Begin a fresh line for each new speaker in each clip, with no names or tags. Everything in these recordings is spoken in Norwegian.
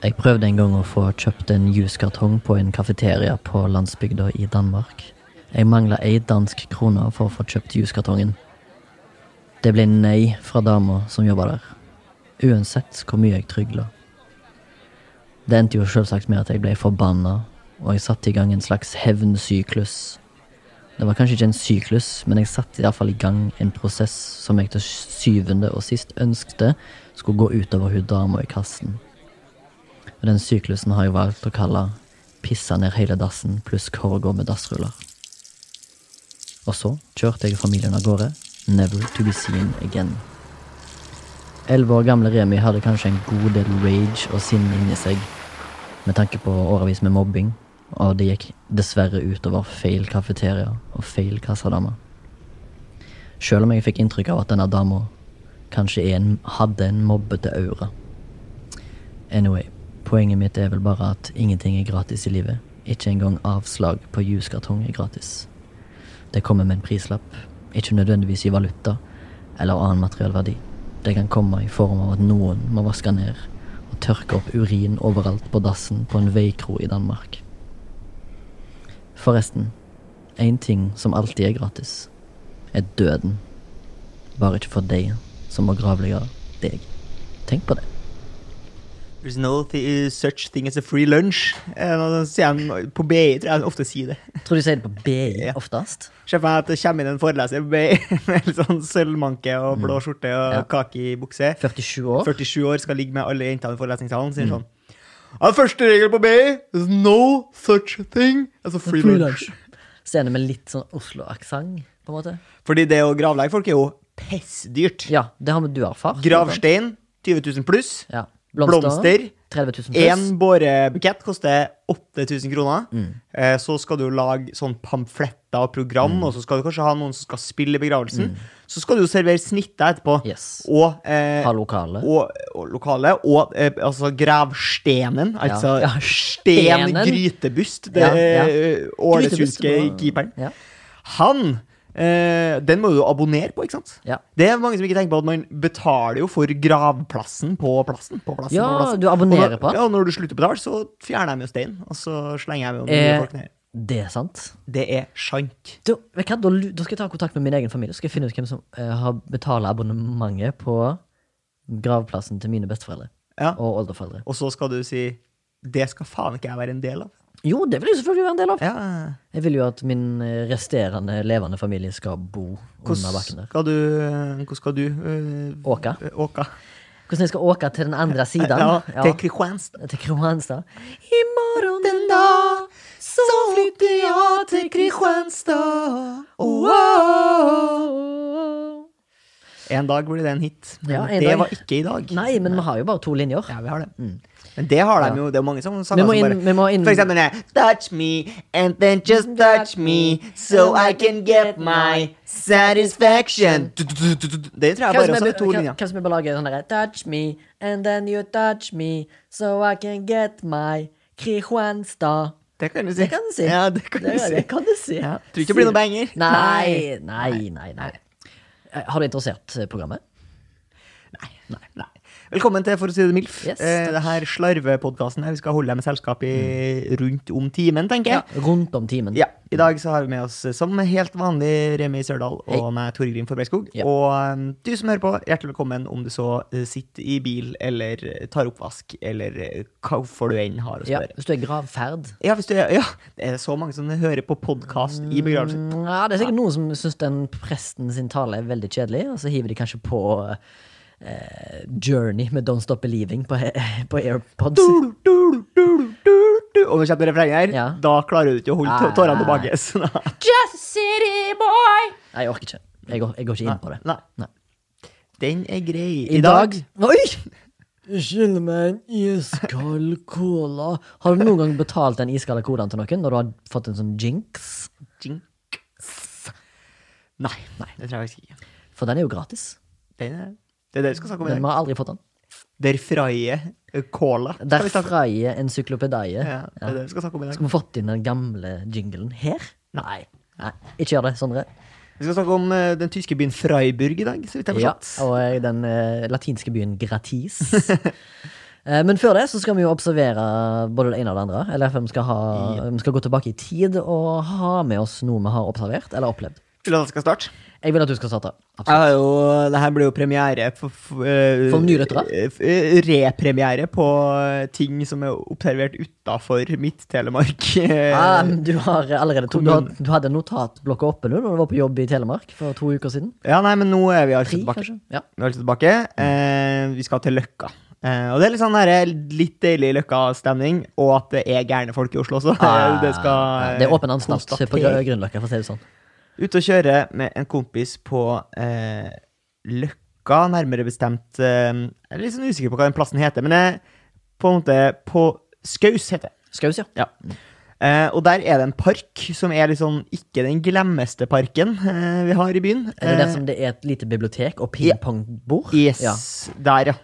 Jeg prøvde en gang å få kjøpt en juskartong på en kafeteria på landsbygda i Danmark. Jeg mangla ei dansk krone for å få kjøpt juskartongen. Det ble nei fra dama som jobba der. Uansett hvor mye jeg trygla. Det endte jo selvsagt med at jeg ble forbanna, og jeg satte i gang en slags hevnsyklus. Det var kanskje ikke en syklus, men jeg satte iallfall i gang en prosess som jeg til syvende og sist ønskte skulle gå utover hun dama i kassen. Og den syklusen har jeg valgt å kalle 'pissa ned hele dassen pluss korga med dassruller'. Og så kjørte jeg familien av gårde, never to be seen again. Elleve år gamle Remi hadde kanskje en god del rage og sinne inni seg, med tanke på årevis med mobbing, og det gikk dessverre utover feil kafeteria og feil kassadame. Sjøl om jeg fikk inntrykk av at denne dama kanskje er en, hadde en mobbete aura. Anyway, poenget mitt er vel bare at ingenting er gratis i livet. Ikke engang avslag på juskartong er gratis. Det kommer med en prislapp, ikke nødvendigvis i valuta eller annen materiell verdi. Det kan komme i form av at noen må vaske ned og tørke opp urin overalt på dassen på en veikro i Danmark. Forresten, én ting som alltid er gratis, er døden. Bare ikke for deg som må gravlegge deg. Tenk på det.
There's no thi- such thing as a free lunch. Eh, nå sier han på BI, tror jeg han ofte sier det.
Tror du de sier det på BI
Ja.
oftest?
Se for meg at det kommer inn en foreleser på BI med litt sånn sølvmanke og blå skjorte og
Ja.
kake i bukse.
47 år?
47 år skal ligge med alle jentene i forelesningssalen, sier sånn. Ja, første regel på BI is no such thing as a free, lunch.
Scene med litt sånn Oslo-aksent, på en måte.
Fordi det å gravlegge folk er jo pissdyrt.
Ja, det har du erfart.
Gravstein 20 000 pluss.
Ja. Blomster.
Blomster.
30 000 pluss.
Én bårebukett koster 8000 kroner.
Mm.
Eh, Så skal du lage sånn pamfletter og program,
Mm.
og så skal du kanskje ha noen som skal spille i begravelsen. Så skal du jo servere snittet etterpå.
Yes.
Og, eh,
Ha lokale.
og, og lokale. Og eh, altså gravstenen. Altså
Ja,
sten,
stenen.
grytebust. Det
Ja, ja.
eh,
Grytebust,
ålesunske
det var-
keeperen.
Ja.
Han eh, Den må du abonnere på, ikke sant?
Ja.
Det er mange som ikke tenker på at man betaler jo for gravplassen på plassen. På plassen
Ja,
på plassen.
du abonnerer
og da,
på den.
Ja, og når du slutter å betale, så fjerner jeg med steinen. Og så slenger jeg med noen nye
Eh,
folk ned.
det er sant.
Det er sant.
Da, vet du hva, da, lu- da skal jeg ta kontakt med min egen familie. Skal jeg finne ut hvem som eh, har betalt abonnementet på gravplassen til mine besteforeldre
Ja.
og oldeforeldre.
Og så skal du si Det skal faen ikke jeg være en del av.
Jo, det vil jeg selvfølgelig være en del av.
Ja.
Jeg vil jo at min eh, resterende levende familie skal bo under
Hvordan
bakken der.
skal du eh, Hvordan skal du øh,
Åka.
øh, åka?
Hvordan jeg skal åke til den andre siden.
Ja,
Ja,
til Kristianstad.
til Kristianstad. I morgen den
dag
så
flytter jeg til Kristianstad. En dag blir det en hit. Men
Ja, en
det
dag.
var ikke i dag.
Nei, men vi har jo bare to linjer.
Ja, vi har det. Men det har de
Ja.
jo. Det er mange sånne
Vi
sanger
må inn,
som sånn
vi
bare
må inn.
For eksempel den der Touch me, and then just touch me, so I can get my satisfaction. Det tror jeg
Hvem
bare
som
også
er-
er to
hvem-
linjer.
hvem som er bare lager sånn derre Touch me, and then you touch me, so I can get my Kristianstad.
Det kan du si.
Det kan du si.
Ja, det kan du
Det,
si.
det kan du si.
Ja. Tror ikke det blir noe banger.
Nei, nei, nei. nei. Eh, Har du interessert eh, programmet?
Nei. Velkommen til For å si det mildt.
Yes,
eh,
takk.
det her slarvepodkasten her. Vi skal holde deg med selskap i
Mm.
rundt om timen, tenker jeg.
Rundt om timen.
Ja, I dag så har vi med oss eh, som helt vanlig Remi Sørdal og
Hei.
meg Torgrim Forbergskog.
Ja.
Og eh, du som hører på, hjertelig velkommen om du så eh, sitter i bil eller eh, tar oppvask eller eh, hva for du enn har å
Ja,
spørre. Ja.
hvis du er gravferd.
hvis du er, ja, det er så mange som hører på podkast i begravelsen.
Ja, det er sikkert noen som syns den presten sin tale er veldig kjedelig, og så hiver de kanskje på eh, Journey med Don't Stop Believing på, på AirPods.
Du, du, du, du, du. Og når det kommer refrenget her,
Ja.
da klarer du ikke å holde tå- tårene tilbake. Så da-
Just a city boy! Nei, jeg orker ikke. Jeg går, jeg går ikke inn på det.
Nei.
Nei.
Den er grei.
I dag Oi! Skyld meg en iskald cola. Har du noen gang betalt en iskald cola til noen når du har fått en sånn jinx?
Jinx. Nei, nei, det tror jeg faktisk ikke.
For den er jo gratis.
Det er det er det vi skal snakke om i
Men
dag.
vi har aldri fått den.
Der fraie eh, cola. skal
Der
vi snakke om.
fraie encyklopedie.
Ja, det er det vi skal snakke om i dag.
Skulle vi fått inn den gamle jinglen her? Nei. Nei. Ikke gjør det, Sondre.
Vi skal snakke om eh, den tyske byen Freiburg i dag, så vidt jeg
Ja,
har forstått.
og eh, den eh, latinske byen Gratis. Eh, Men før det så skal vi jo observere både det ene og det andre. Eller vi skal, ha, vi skal gå tilbake i tid og ha med oss noe vi har observert eller opplevd.
Vil du at jeg skal starte?
Jeg vil at du skal starte. Absolutt.
Jeg har jo, det her blir jo premiere for, for, eh,
For nye lyttere?
eh, f- eh, Repremiere på eh, ting som er observert utafor Midt-Telemark. Eh,
Ah, men du har allerede to, du, har,
kommunen.
du hadde notatblokka oppe nå når du var på jobb i Telemark for to uker siden.
Ja, nei, men nå er vi altså
Tre,
tilbake.
kanskje? Ja.
Vi er altså tilbake. Eh, vi skal til Løkka. Eh, og det er litt sånn her, litt deilig Løkka-stemning, og at det er gærne folk i Oslo også.
Ah,
det skal
ja, det er åpen anstalt
konstatere.
på Grø- Grünerløkka, for å si det sånn.
Ute og kjøre med en kompis på eh, Løkka, nærmere bestemt eh, Jeg er litt sånn usikker på hva den plassen heter, men eh, på en måte på Skaus heter det.
Skaus, ja.
Ja. Eh, og der er det en park som er liksom ikke den glemmeste parken eh, vi har i byen.
Er det
Eh,
der som det er et lite bibliotek og pingpongbord?
Yes,
Ja.
der ja.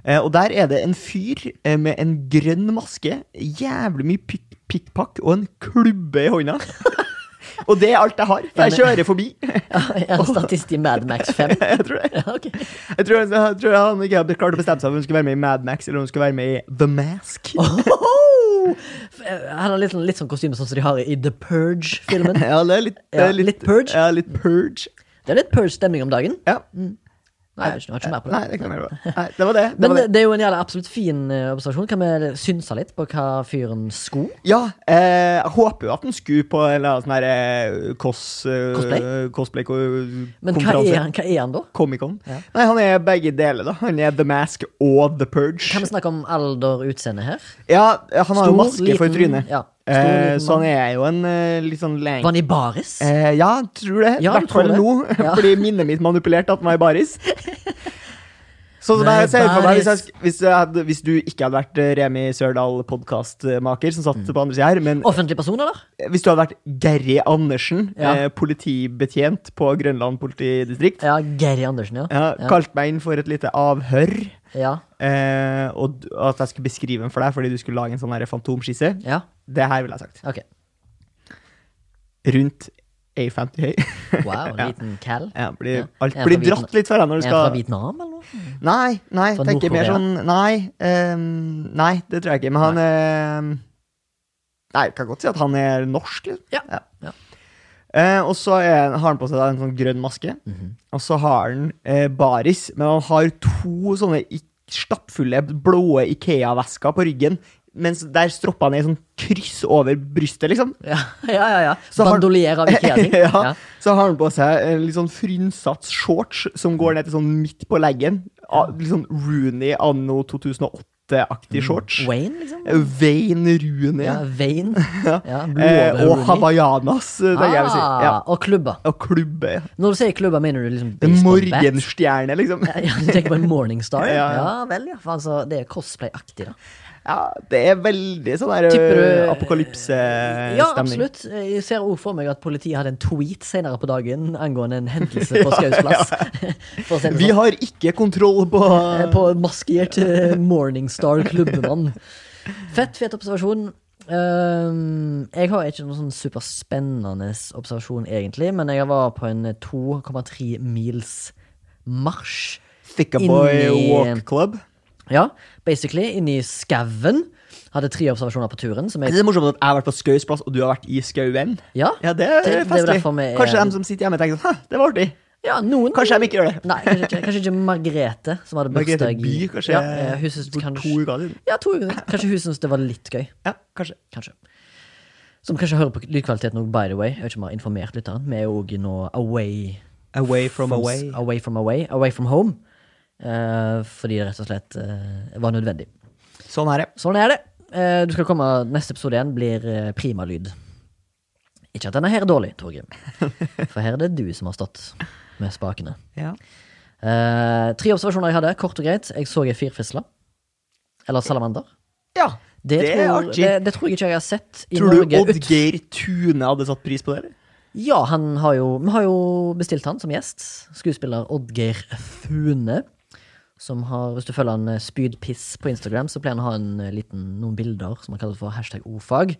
Eh, og der er det en fyr eh, med en grønn maske, jævlig mye pikk- pikkpakk og en klubbe i hånda. og det er alt jeg har, for jeg kjører forbi.
Er han statist i Mad Max 5?
jeg tror det.
Ja, ok.
Jeg tror, jeg tror han ikke hadde klart å bestemme seg om hun skulle være med i Mad Max eller om hun skulle være med i The Mask.
Ohoho! F- eh, Han har litt, sånn- litt sånn kostyme sånn som de har i The Purge-filmen.
Ja, det er litt, det
Ja,
er
litt purge.
Ja, litt purge.
Det er litt Purge-stemning om dagen.
Ja.
Nei, jeg har ikke- jeg har ikke mer på det.
Nei, det kan jeg være. Nei, det var det. det,
Men
var det.
det, det er jo en jævla absolutt fin eh, observasjon. Kan vi synse litt på hva fyren sko?
Ja, eh, jeg håper jo at han skulle på en eller annen sånn her eh, kos, eh,
Cosplay? Men hva er
cosplay-konferanse.
han? Hva er han da?
Comic-Con. Nei, han er begge deler, da. Han er The Mask og The Purge.
Kan vi snakke om alder, utseende her?
Ja, han har
Stor,
jo maske for
liten-
trynet.
ja. Stor,
eh,
liten
så han er jo en eh, litt sånn leng...
Var han i baris?
Eh, ja, tror det. I
Ja,
hvert
tror
fall
det.
nå,
Ja.
fordi minnet mitt manipulerte at han var i baris. Sånn som
Nei,
jeg ser for meg, hvis,
baris.
jeg, hvis, jeg hadde, hvis du ikke hadde vært eh, Remi Sørdal podkastmaker, som satt på andre sida her, men eh,
Offentlig person, eller?
hvis du hadde vært Gerry Andersen,
Ja.
eh, politibetjent på Grønland politidistrikt,
Ja, Gary Andersen, ja.
ja,
Ja.
kalt meg inn for et lite avhør,
Ja.
eh, og d- at jeg skulle beskrive den for deg fordi du skulle lage en sånn her fantomskisse,
ja.
det her ville jeg sagt.
Ok.
Rundt A50 høy.
Wow,
Ja.
liten cal.
Ja, blir,
Ja.
Alt
Er han
blir
fra
dratt
Vietnam?
litt for deg når du
Er han fra
skal
Vietnam, eller noe?
Nei, nei,
Fra
tenker mer
Nord-Korea?
sånn Nei, ehm, nei, det tror jeg ikke. Men han ehm, Nei, jeg kan godt si at han er norsk. Liksom.
Ja.
Ja.
Ja.
Eh, og så er, har han på seg da en sånn grønn maske.
Mhm.
Og så har han eh, baris, men han har to sånne i- stappfulle blå Ikea-vesker på ryggen. Mens der stroppene er sånn kryss over brystet, liksom.
Ja, ja, ja. ja.
Så har-
Bandolier av Ikea-ting.
ja.
Ja.
Så har han på seg en litt sånn frynsete shorts som går ned til sånn midt på leggen. A- Litt sånn Rooney anno 2008-aktig shorts.
Wayne, liksom?
Wayne
Mm.
Rooney.
Ja, Wayne. Ja, blod
eh,
over
og
Rooney.
hawaiianas, eh, tenker jeg vil si. Ja.
Ah, og klubba.
Og klubbe. ja.
Når du sier klubba, mener du liksom
En
baseball bat?
morgenstjerne, liksom.
Ja, du tenker på en Morningstar?
Ja,
Ja,
ja.
vel, ja. For altså, det er cosplay-aktig, da.
Ja, det er veldig sånn der
Tipper
eh,
du-
apokalypsestemning.
Ja, absolutt. Jeg ser også for meg at politiet hadde en tweet senere på dagen angående en hendelse på Skaus plass. For å si det
Vi
sånn.
har ikke kontroll på
Eh, På en maskert eh, Morningstar-klubbemann. Fett, fet observasjon. Ehm, jeg har ikke noen sånn superspennende observasjon, egentlig, men jeg var på en eh, 2,3 mils marsj.
Thickaboy
inni-
Walk Club.
Ja, basically, inni skauen. Hadde tre observasjoner på turen. Som
Er
jeg,
det morsomt at jeg har vært på Skaus plass, og du har vært i skauen?
ja,
Ja, det er
Det- det er jo
festlig.
derfor vi er-
Kanskje de som sitter hjemme tenker sånn, «Hæ, det var artig.
ja, noen
Kanskje de ikke gjør det.
Nei, kanskje ikke, kanskje ikke Margrethe, som hadde
Margrethe
bursdag
By,
i-
kanskje,
Ja, eh, hun syntes
for
kanskje,
to uker siden.
Ja, to uker. Kanskje hun syntes det var litt gøy.
Ja, kanskje.
Kanskje. Som kanskje hører på lydkvaliteten òg, by the way. Jeg vet ikke om jeg har informert lytteren. Vi er jo også nå away
Away from
from,
away.
away from away. Away from home. Eh, fordi det rett og slett eh, var nødvendig.
Sånn er det.
Sånn er det. Eh, du skal komme, Neste episode igjen blir eh, primalyd. Ikke at denne her er dårlig, Torgrim. For her er det du som har stått med spakene.
Ja.
Eh, tre observasjoner jeg hadde, kort og greit. Jeg så ei firfisle. Eller salamander.
Ja,
Det,
det er
tror,
artig.
det, det tror jeg ikke jeg har sett i
Tror du
Norge.
Odd
ut-
Geir Tune hadde satt pris på det? eller?
Ja, han har jo, vi har jo bestilt han som gjest. Skuespiller Oddgeir Fune. Som har, hvis du følger han eh, Spydpiss på Instagram, så pleier han å ha en eh, liten, noen bilder som han kaller for hashtag ordfag,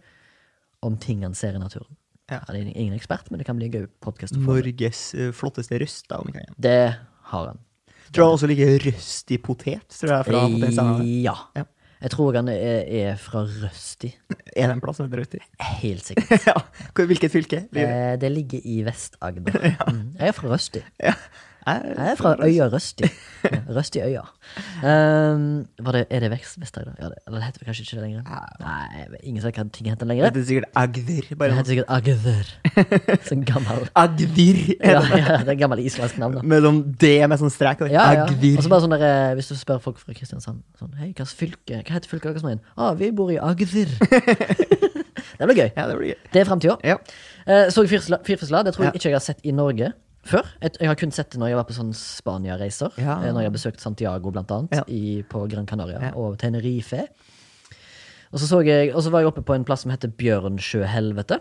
om ting han ser i naturen.
Ja.
Han er ingen ekspert, men det kan bli en gøy podkast.
Norges eh, flotteste røst. da, om ikke annet.
Det har han.
Tror han også liker røst i potet. tror jeg, fra Potens Sandal.
ja.
Ja.
Jeg tror han er, er fra Røsti.
Er det en plass som heter Røst i?
Helt sikkert.
ja. Hvor- Hvilket fylke? Ligger det?
Eh, Det ligger i Vest-Agder. Mm. Jeg er fra Røsti.
Ja.
Jeg er fra øya Røsti. Ja, Røsti øya. Um, var det, er det Vest- Vest-Agder? Ja, det- eller det heter vel kanskje ikke det lenger? Nei, jeg vet- ingen vet hva ting heter lenger.
Det er sikkert Agder.
Det
bare
heter
noe.
sikkert Agder. Sånn gammel
Agdir.
ja, ja, Det er gammel islandsk navn, da.
Med sånn D med sånn strek. og
Ja, ja.
Agdir.
Og så bare sånn der, eh, Hvis du spør folk fra Kristiansand sånn, Hei, hva, fylke, hva heter fylket deres? igjen?» Ah, vi bor i Agder. det blir gøy.
Ja, det blir gøy.
Det er framtida.
Ja.
Eh, Så Firfisla, Firfisla, det tror jeg
Ja.
ikke jeg har sett i Norge før. Et- Jeg har kun sett det når jeg var på sånne Spania-reiser.
Ja.
eh, Når jeg har besøkt Santiago, blant annet,
Ja.
i, på Gran Canaria
Ja.
og Tenerife. Og så, så jeg, og så var jeg oppe på en plass som heter Bjørnsjøhelvete.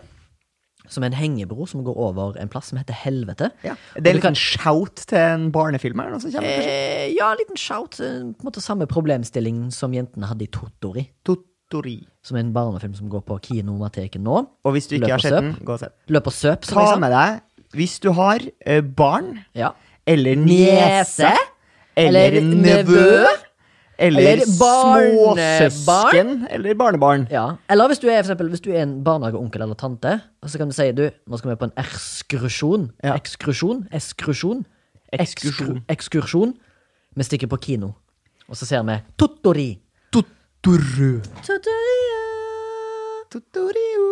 Som er en hengebro som går over en plass som heter Helvete.
Ja.
Og
Det
du
er en
kan-
liten shout til en barnefilm her. nå som kommer, kanskje?
Eh, ja, en liten shout. eh, På en måte samme problemstilling som jentene hadde i Totori.
Totori.
Som er en barnefilm som går på kinomateken nå.
Og hvis du ikke
Løp
har
og
sett
søp.
den, gå og se.
Løp og søp, som
Ta
jeg sa.
med deg Hvis du har eh, barn
Ja.
eller niese
Niese.
eller
eller
nevø
nevø,
eller
eller
småsøsken eller barnebarn
Ja. Eller hvis du er, for eksempel, hvis du er en barnehageonkel eller tante, og så kan du si du, nå skal vi på en ekskursjon.
Ja.
Ekskursjon? Ekskursjon?
Ekskursjon.
Ekskru- Ekskursjon. Vi stikker på kino, og så ser vi Tottori.
Totoru.
Tottori.
Totoriu.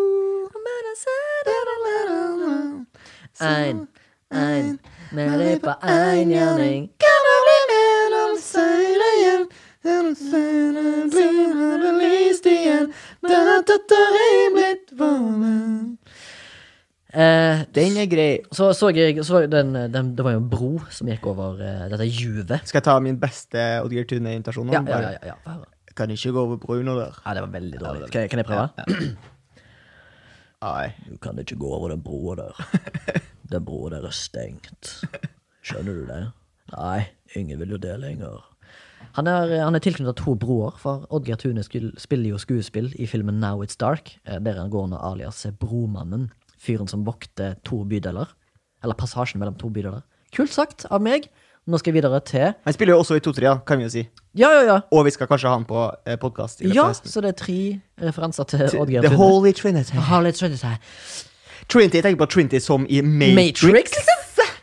Ein, ein, med deg på ein gjerning. Eh,
Den er grei.
så så jeg så var jo den, den, Det var jo en bro som gikk over eh, dette juvet.
Skal jeg ta min beste Oddgeir Tune-invitasjon? nå?
Ja, ja, ja, ja, ja. Hva var det?
Kan ikke gå over brua der.
Ja, det var veldig dårlig. Kan jeg, kan jeg prøve?
Nei.
Du kan ikke gå over den broa der. Den broa der er stengt. Skjønner du det? Nei, ingen vil jo det lenger. Han er, han er tilknyttet to broer, for Oddgeir Tune skil- spiller jo skuespill i filmen Now It's Dark, eh, der han går under alias Bromannen, fyren som vokter to bydeler. Eller passasjen mellom to bydeler. Kult sagt av meg. Nå skal jeg videre til
Han spiller jo også i 2-3, da, kan vi jo si.
Ja, ja, ja!
Og vi skal kanskje ha han på eh, podkast.
Ja, Så det er tre referanser til Oddgeir
The
Tune.
Holy Trinity.
Harley Trinity.
Trinity, Jeg tenker på Trinity som i Matrix.
Matrix.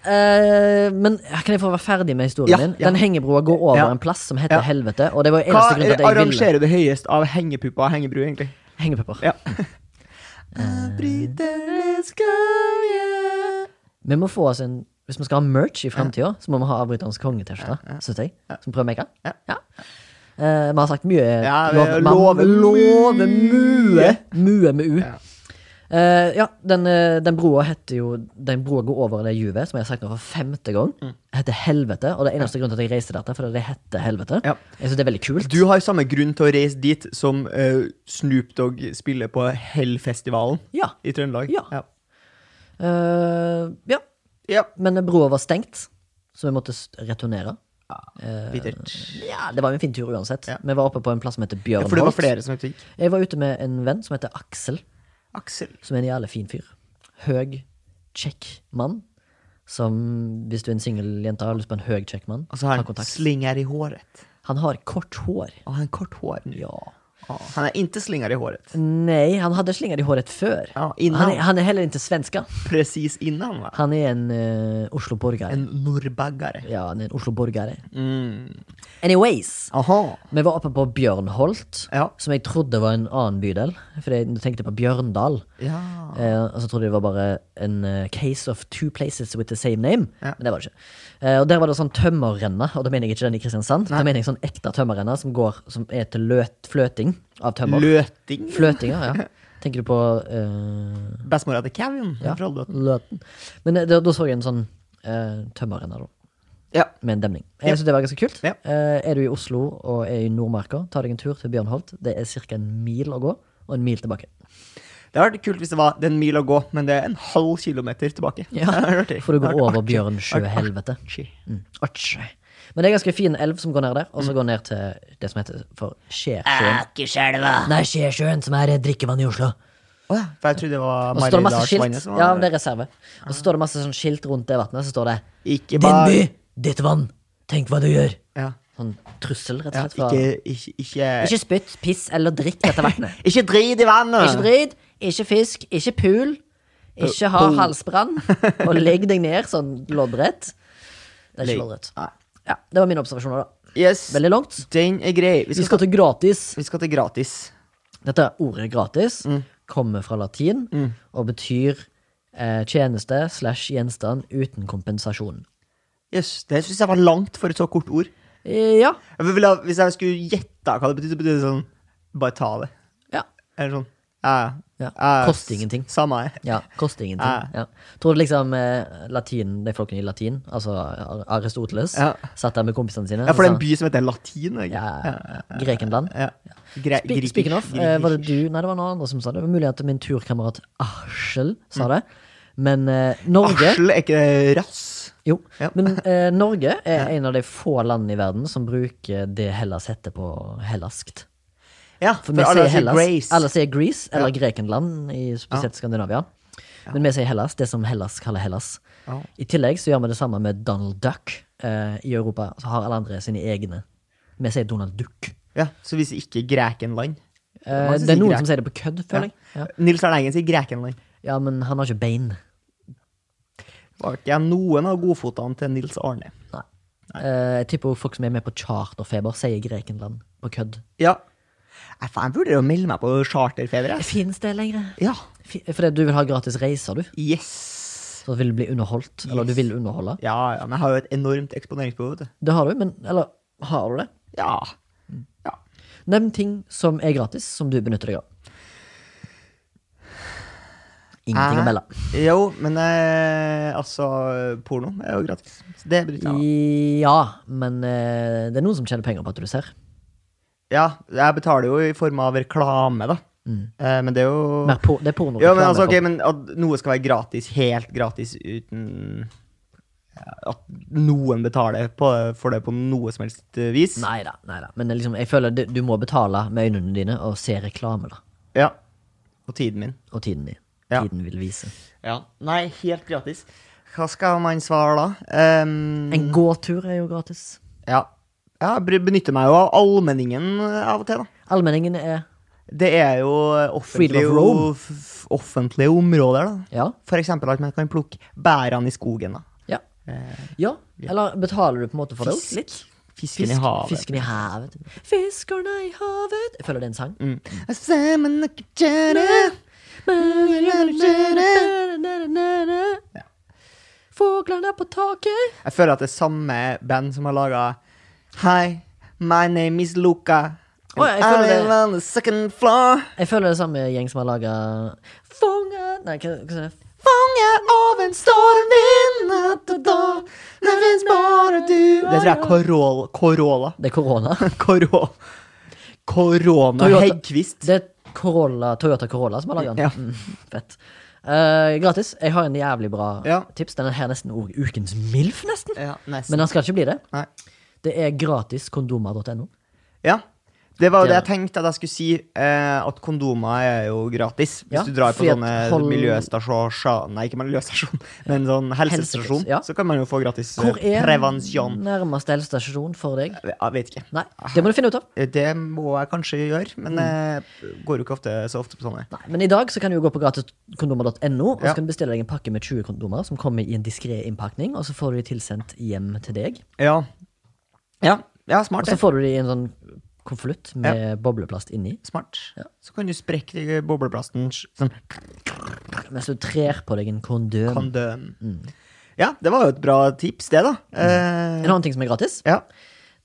Eh, men kan jeg få være ferdig med historien
Ja,
min?
ja.
Den hengebroa går over
Ja.
en plass som heter
Ja.
Helvete. Og det var jo
Hva
eneste grunn til at jeg ville
arrangerer du høyest av hengepuppa og hengebru, egentlig?
Hengepepper.
Ja. Bryternes konge
Vi må få oss en Hvis vi skal ha merch i framtida, så må vi ha avbryterens konge-T-skjorte. Syns jeg. Som prøvemaker.
Ja.
Ja. Eh, vi har sagt mye
Ja, vi
lov-
lover
man- lover mye.
mye.
Mue med u.
Ja.
Eh, ja, den, eh, den broa heter jo Den broa går over det juvet, som jeg har sagt nå for femte gang.
Mm.
Heter Helvete, og det er eneste grunnen til at jeg reiser dette, fordi det heter Helvete.
Ja.
Jeg synes det er veldig kult.
Du har samme grunn til å reise dit som eh, Snoop Dogg spiller på Hellfestivalen
Ja.
i Trøndelag.
Ja.
Ja.
Eh, ja,
Ja.
men broa var stengt, så vi måtte s- returnere. Eh,
Bittert.
Ja, Det var jo en fin tur uansett.
Ja.
Vi var oppe på en plass som heter
Ja, for det var
Bjørnholt.
flere som fikk
jeg var ute med en venn som heter Aksel,
Aksel.
som er en jævlig fin fyr. Høg, kjekk mann. Som, hvis du er en singel jente og har lyst på en høg, kjekk mann,
Og så har
ta
han
kontakt.
slinger i håret.
Han har kort hår.
Og han har kort hår nu.
Ja.
Ja, han er ikke slinger i håret.
Nei, han hadde slinger i håret før.
Ja, innan.
han, er, han er heller ikke svenska.
Precis innan, va?
Han er en eh, Oslo-borger.
En norrbaggare.
Ja, han er en Oslo-borger.
Mm.
Anyways.
Aha.
Vi var oppe på Bjørnholt,
Ja.
som jeg trodde var en annen bydel. Fordi jeg tenkte på Bjørndal.
Ja.
Eh, og så trodde jeg det var bare en eh, case of two places with the same name.
Ja.
Men det var det ikke. Eh, og der var det sånn tømmerrenne, og da mener jeg ikke den i Kristiansand. Da mener jeg sånn ekte tømmerrenne som, går, som er til løt, fløting av tømmer.
Løting.
Fløtinger, ja. Tenker du på eh,
Bestemora til Kevin.
ja,
fra Løten.
Løten. Men eh, da, da så jeg en sånn eh, tømmerrenne, da.
Ja.
med en demning.
Ja.
Jeg synes det var ganske kult.
Ja.
Eh, er du i Oslo og er i Nordmarka, ta deg en tur til Bjørnholt. Det er ca. en mil å gå, og en mil tilbake.
Det hadde vært kult hvis det var det er en mil å gå, men det er en halv kilometer tilbake.
Ja,
Det hadde vært artig.
For du
Det
går
hadde vært
over
artig.
Bjørnsjøhelvete.
Artig.
Mm. Artsj. Men det er en ganske fin elv som går ned der, og så går ned til det som heter for Skjærsjøen.
Akerselva.
Nei, Skjærsjøen, som er eh, drikkevann i Oslo.
Å ja, for jeg trodde det var
Og så står det masse
Maridalsvannet
skilt.
som var
Ja, men det er reserve. Og så står det masse sånn skilt rundt det vannet. Så står det
Ikke
'Din
bare
by, ditt vann. Tenk hva du gjør'.
ja,
Sånn trussel, rett og
ja,
slett. Fra,
ikke,
ikke,
ikke, ikke, ikke,
spytt, piss eller drikk dette vannet.
drit i vannet!
Ikke drit, ikke fisk, ikke pul. Ikke ha
Pul.
halsbrann. Og legg deg ned sånn loddrett. Det er
Legg-
ikke loddrett.
Nei.
Ja, det var mine observasjoner, da.
Yes,
Veldig langt.
den er grei. Vi
Vi
skal,
skal til gratis.
vi skal til gratis.
Dette ordet gratis
Mm.
kommer fra latin og betyr eh, tjeneste slash gjenstand uten kompensasjon.
Yes, det syns jeg var langt for et så kort ord.
Eh, Ja.
Jeg ville ha- hvis jeg skulle gjette hva det betydde, så betydde det sånn Bare ta det.
Ja.
Eller sånn ja,
Ja,
ja,
koster ingenting.
Samme her.
ja koster
Ja.
ingenting. Ja. Tror du liksom eh, latin, de folkene i latin, altså Ar- Aristoteles,
Ja.
satt der med kompisene sine
Ja, for det er en
og sa,
by som heter Latin. Ikke?
altså- ja, Grekenland.
Ja. Gre
Spe-
Grikish-
Speaking of, eh, var det
Grikish.
du Nei, det var noen andre som sa det. Det var mulig at min turkamerat Arsel
Mm.
sa det. Men eh, Norge
Arsel er ikke det rass?
Jo,
Ja.
men eh, Norge er en av de få land i verden som bruker det Hellas heter på hellaskt.
Ja,
For
for,
vi
alle
sier
sier
Hellas,
Grace.
alle sier Greece, eller
Ja.
Grekenland, i spesielt Skandinavia. Men vi sier Hellas, det som Hellas kaller Hellas.
Ja.
I tillegg så gjør vi det samme med Donald Duck eh, i Europa. Så har alle andre sine egne. Vi sier Donald Duck.
Ja, så vi sier ikke Grekenland.
Eh,
Man
det er
sier
noen
Grek-
som sier det på kødd, føler jeg.
Ja.
Ja.
Nils Arne Eggen sier Grekenland.
ja, men han har ikke bein.
Var ikke jeg noen av godfotene til Nils Arne?
Nei. Eh, jeg tipper også folk som er med på charterfeber, sier Grekenland på kødd.
Ja. Nei, faen, Jeg burde jo melde meg på charterfeber. jeg.
Fins det lenger?
Ja.
Fi- Fordi du vil ha gratis reiser, du.
Yes.
Så vil du bli underholdt. Eller du vil underholde.
Ja, ja, men jeg har jo et enormt eksponeringsbehov. vet du. Mm.
Det har du, men Eller har du det?
Ja. ja.
Nevn ting som er gratis, som du benytter deg av. Ingenting å
Jeg-
melde.
Eh, Jo, men eh, altså Porno er jo gratis. Så det betyr ja.
Ja, men eh, det er noen som tjener penger på at du ser.
ja, jeg betaler jo i form av reklame, da. Eh, men det er jo
Mer på, det er porno.
Ja, men
reklame
altså,
for-
ok, men at noe skal være gratis, helt gratis, uten ja, at noen betaler på, for det på noe som helst eh, vis.
Neida, neida. Men det er liksom, jeg føler det, du må betale med øynene dine og se reklame, da.
Ja. Og tiden min.
Og tiden din.
Ja.
Tiden vil vise.
Ja. Nei, helt gratis. Hva skal man svare da? Ehm,
En gåtur er jo gratis.
ja. ja. Jeg benytter meg jo av allmenningen eh, av og til, da.
Allmenningen er
Det er jo offentlige,
Freedom of Rome.
f- f- offentlige områder, da.
Ja.
For eksempel at man kan plukke bærene i skogen, da.
Ja.
Eh,
ja. Eller betaler du på en måte for det òg? Litt.
Fisken i havet.
Fisken i havet. Fiskerne i havet Jeg føler det er en sang.
Mm. Sammen og kjære.
Fuglene på taket.
Jeg føler at det er samme band som har laga Hi, my name is Luca. And
Å, jeg føler
I
det-
live on the second floor.
Jeg føler det er samme gjeng som har laga Fonga Nei, hva hva sier jeg?
Fanget av en stormvind natt og dag. Det fins bare du
sånn
Det tror jeg er Corol- Corolla.
Det er korona.
Coro- Corona
Toyota.
Heggkvist.
Det er Corolla, Toyota Corolla som har laga den.
Ja.
Mm, fett. Eh, gratis. Jeg har en jævlig bra
Ja. Eh.
tips. Den er her nesten o- ukens MILF, nesten.
Ja, nesten.
Men han skal ikke bli det.
Nei.
Det er gratiskondomer.no.
Ja. Det var jo det
Det-
jeg tenkte at jeg skulle si, eh, at kondomer er jo gratis. Hvis
Ja,
du drar på
fordi at
sånne
hold-
miljøstasjon Nei, ikke miljøstasjon, men sånn helsestasjon,
Helsestasjon, ja.
så kan man jo få gratis eh,
Hvor er
prevensjon.
nærmeste helsestasjon for deg?
Jeg vet ikke.
Nei, det må du finne ut av.
Det må jeg kanskje gjøre,
Mm.
men jeg går jo ikke ofte, så ofte på sånne.
Nei, men i dag så kan du jo gå på gratiskondomer.no og
Ja.
så kan du bestille deg en pakke med 20 kondomer som kommer i en diskré innpakning, og så får du de tilsendt hjem til deg.
Ja, ja, ja
Og
smart.
så
det.
får du de i en sånn konvolutt med bobleplast inni,
Smart. Så kan du sprekke det i bobleplasten sånn
mens du trer på deg en kondom.
kondøm.
Mm.
Ja, det var jo et bra tips, det, da.
En
Eh,
annen ting som er gratis,
ja.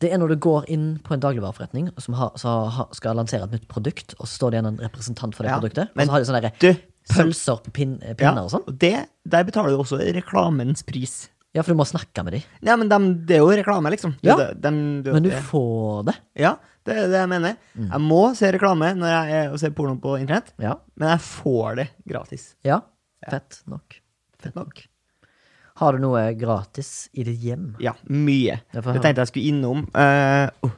det er når du går inn på en dagligvareforretning som har, så har, skal lansere et nytt produkt, og så står det igjen en representant for det
Ja,
produktet, og
men
så har de sånne der
du, som-
pølser på pin, eh,
Ja,
pinner og sånn.
og det, der betaler du også reklamens pris.
Ja, for du må snakke med dem.
Nei, men dem- det er jo reklame, liksom. Det er
Ja.
det- dem- det er jo
Men du Mm.
det.
får det.
Ja, det er det jeg mener. Jeg må se reklame når jeg er og ser porno på internett,
Ja.
men jeg får det gratis.
ja. Fett nok. Fett nok. Har du noe gratis i ditt hjem?
Ja, mye.
Ja,
Det
for-
tenkte jeg skulle innom. Eh, oh.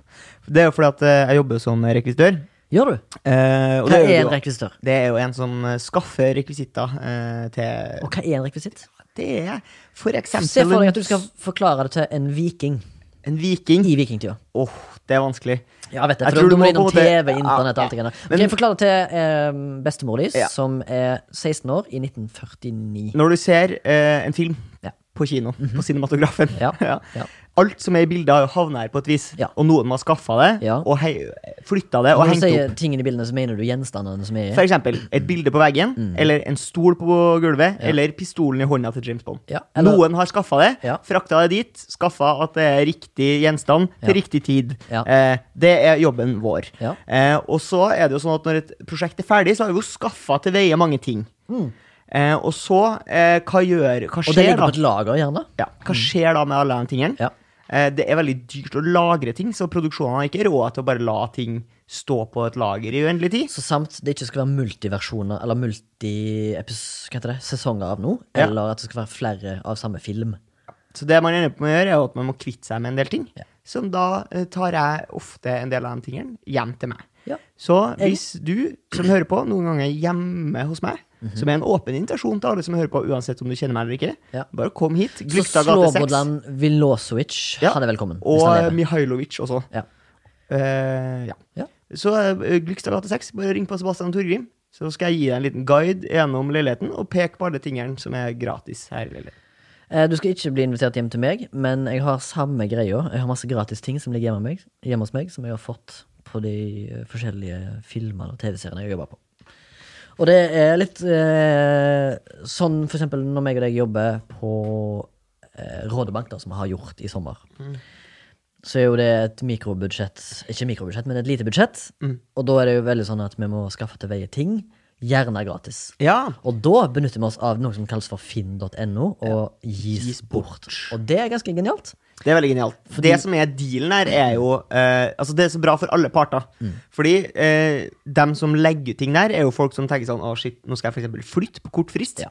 det er jo fordi at eh, jeg jobber som rekvisitør.
Gjør du?
Eh,
Hva
og det
er
er,
en
jo,
rekvisitør?
det er jo en som eh, skaffer rekvisitter eh, til
Og hva er en rekvisitt?
Det er for eksempel
Se for deg at du skal forklare det til en viking
en viking.
i vikingtida.
Åh, det er vanskelig.
Ja, jeg vet det.
Jeg
For du
tror du
må
må
innom
på en måte-
TV, internett og alt det
Ja,
greiene
men-
der. Ok, Forklar det til eh, bestemor di,
Ja.
som er 16 år, i 1949.
Når du ser eh, en film
Ja.
på kino, på cinematografen
Ja, ja.
Alt som er i bildet, har jo havnet her på et vis,
Ja.
og noen må ha skaffa det,
Ja.
og hei, flytta det,
Når
og
du
hengt opp.
sier tingene i bildene, så mener du gjenstandene som er
For
i?
eksempel et bilde på veggen,
Mm.
eller en stol på gulvet, eller pistolen i hånda til James Bond.
Ja, eller-
Noen har skaffa det,
Ja.
frakta det dit, skaffa at det er riktig gjenstand til
Ja.
riktig tid.
Ja.
Eh, det er jobben vår.
Ja.
Eh, og så er det jo sånn at når et prosjekt er ferdig, så har vi jo skaffa til veie mange ting. Eh, og så, eh, hva
Mm.
gjør Hva
Og det
skjer
ligger
da?
på et lager, gjerne?
Ja, hva skjer da med alle de tingene?
Ja.
Eh, Det er veldig dyrt å lagre ting, så produksjonen har ikke råd til å bare la ting stå på et lager i uendelig tid.
Så samt det ikke skal være multiversjoner, eller multi... epis- Hva heter det? Sesonger av noe?
Ja.
Eller at det skal være flere av samme film?
Så det man ender opp med å gjøre, er jo at man må kvitte seg med en del ting.
Ja.
Som da eh, tar jeg ofte en del av de tingene hjem til meg.
Ja.
Så hvis du som hører på, noen ganger er hjemme hos meg,
Mhm.
som er en åpen invitasjon til alle som hører på, uansett om du kjenner meg eller ikke,
Ja.
bare kom hit.
Så
Glykta gate 6.
Slobodan Vilosovic,
Ja.
han er velkommen. hvis han
Og eh,
lever.
Mihailovic også.
Ja.
Eh, ja.
Ja.
Så eh, Glykstad gate 6, bare ring på Sebastian Torgrim. Så skal jeg gi deg en liten guide gjennom leiligheten, og peke på alle tingene som er gratis her. i leiligheten.
Eh, Du skal ikke bli invitert hjem til meg, men jeg har samme greia. Jeg har masse gratis ting som ligger hjemme, meg, hjemme hos meg, som jeg har fått på de eh, forskjellige filmene og TV-seriene jeg jobber på. Og det er litt eh, sånn for eksempel når meg og deg jobber på eh, Rådebank, da, som vi har gjort i sommer. Så er jo det et mikrobudsjett, ikke mikrobudsjett, men et lite budsjett. Og da er det jo veldig sånn at vi må skaffe til veie ting, gjerne gratis.
Ja.
Og da benytter vi oss av noe som kalles for finn.no, og gis,
Gis
bort.
bort.
Og det er ganske genialt.
Det er veldig genialt. det som er dealen her, er jo eh, Altså, det er så bra for alle parter.
Mm.
Fordi eh, dem som legger ut ting der, er jo folk som tenker sånn Å, shit, nå skal jeg f.eks. flytte på kort frist,
Ja.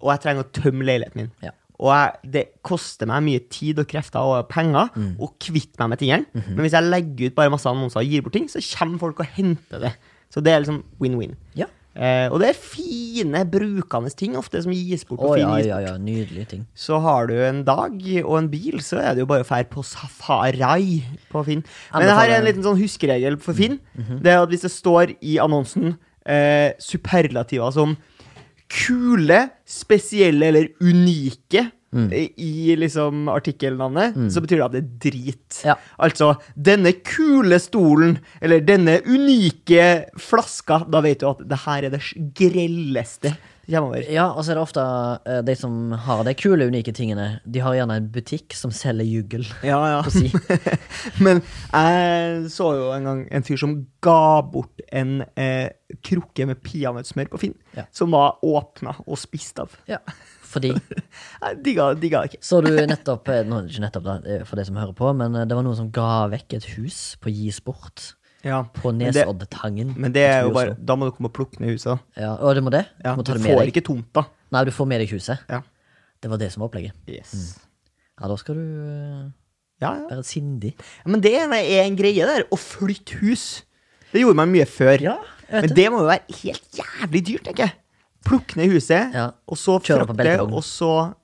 og jeg trenger å tømme leiligheten min.
Ja.
Og jeg, det koster meg mye tid og krefter og penger
Mm.
å kvitte meg med tingene.
Mhm.
Men hvis jeg legger ut bare masse annonser og gir bort ting, så kommer folk og henter det. Så det er liksom win-win.
Ja.
Eh, og det er fine, brukende ting ofte som gis bort.
Å
og fin
ja,
gis
ja, ja. Nydelige ting.
så har du en dag og en bil, så er det jo bare å fære på safari på Finn.
Anbefaler-
Men
Mm, mhm.
her er en liten sånn huskeregel for Finn. Det er at Hvis det står i annonsen eh, superlativer som kule, spesielle eller unike
Mm.
eh, i liksom artikkelnavnet, så betyr det at det er drit.
Ja.
Altså 'denne kule stolen' eller 'denne unike flaska'. Da vet du at det her er det grelleste det kommer over.
Ja, og så er det ofte eh, de som har de kule, unike tingene, de har gjerne en butikk som selger juggel.
Ja, ja.
På si.
Men jeg så jo en gang en fyr som ga bort en eh, krukke med peanøttsmør på Finn,
Ja.
som var åpna og spist av.
Ja. Fordi
Jeg digga digga det ikke.
Så du nettopp eh, Nå er det ikke nettopp, da, det er for de som hører på, men eh, det var noen som ga vekk et hus på Gis bort. På
Men det-
Nesoddtangen.
Men det er jo
utenfor
bare
Oslo.
Da må du komme og plukke ned huset. da.
ja, Og du må det?
Ja,
du må ta
du
det med
får
deg?
ikke tomta.
Nei, du får med deg huset.
Ja.
Det var det som var opplegget.
Yes.
Mm. Ja, da skal du eh,
Ja, ja.
være sindig.
Men det er en greie der. Å flytte hus. Det gjorde man mye før.
Ja, jeg vet
Men det må jo være helt jævlig dyrt, tenker jeg. Plukke ned huset,
Ja.
og så
Kjøre på
frakte,
beltevogn.
og så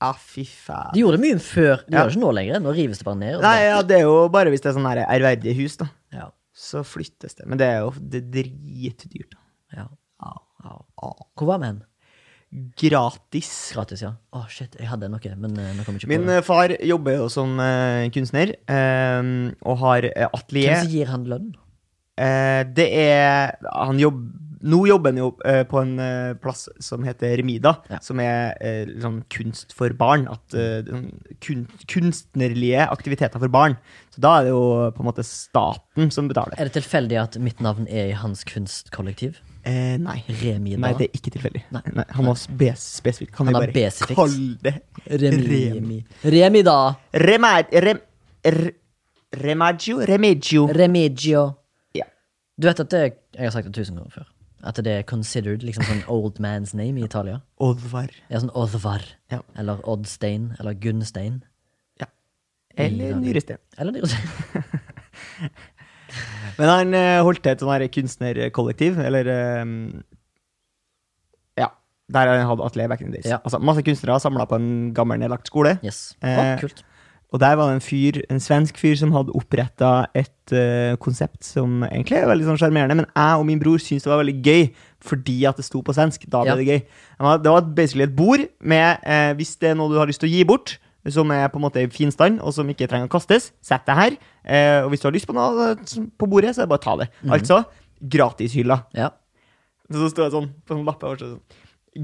Ja, fy faen.
De gjorde det mye før. De gjør
Ja.
det ikke nå lenger. Nå rives det bare ned. og
Nei,
bare-
ja, det er jo bare hvis det er sånn her ærverdige hus, da.
ja.
Så flyttes det. Men det er jo det er dritdyrt.
Ja.
da.
Ja. Hvor var vi hen?
Gratis.
Gratis, ja. Å, shit, jeg hadde noe, men eh, nå kom jeg ikke
Min
på det.
eh, far jobber jo som eh, kunstner, eh, og har eh,
Hvem
atelier.
som gir han lønn?
Eh, det er Han jobb, Nå jobber han jo eh, på en eh, plass som heter Remida,
Ja.
som er eh, litt sånn kunst for barn. At, eh, sånn kun, kunstnerlige aktiviteter for barn. Så da er det jo på en måte staten som betaler.
Er det tilfeldig at mitt navn er i hans kunstkollektiv?
Eh, nei.
Remida.
Nei, det er ikke tilfeldig.
Nei.
Nei, han var spe spesifikk. Kan
Han
vi
er
bare
besifikt.
kalle det Rem-
Remi. Remida.
Remad... Rem... R- Remaggio? Remigio.
Remigio.
Ja.
Du vet at det Jeg har sagt det tusen ganger før. At det er considered liksom sånn old man's name i Italia.
Oddvar.
Det er sånn Oddvar.
Ja.
Eller Oddstein. Eller Gunnstein.
Ja. Eller
Ida.
Nyrestein.
Eller Nyrestein.
Men han eh, holdt til et sånn her kunstnerkollektiv, eller eh, Ja. Der han hadde atelier back in the days.
Ja.
Altså, masse kunstnere samla på en gammel, nedlagt skole.
Yes. Å,
Eh,
kult.
Og der var det en fyr, en svensk fyr som hadde oppretta et eh, konsept som egentlig er veldig sånn sjarmerende, men jeg og min bror syntes det var veldig gøy fordi at det sto på svensk. Da ble
Ja.
det gøy. Det var- Det var basically et bord med eh, Hvis det er noe du har lyst til å gi bort, som er på en måte i fin stand, og som ikke trenger å kastes, sett det her. Eh, og hvis du har lyst på noe eh, som- på bordet, så er det bare å ta det. Altså gratishylla.
Ja.
Så sto det sånn på sånn lappe. og så Sånn,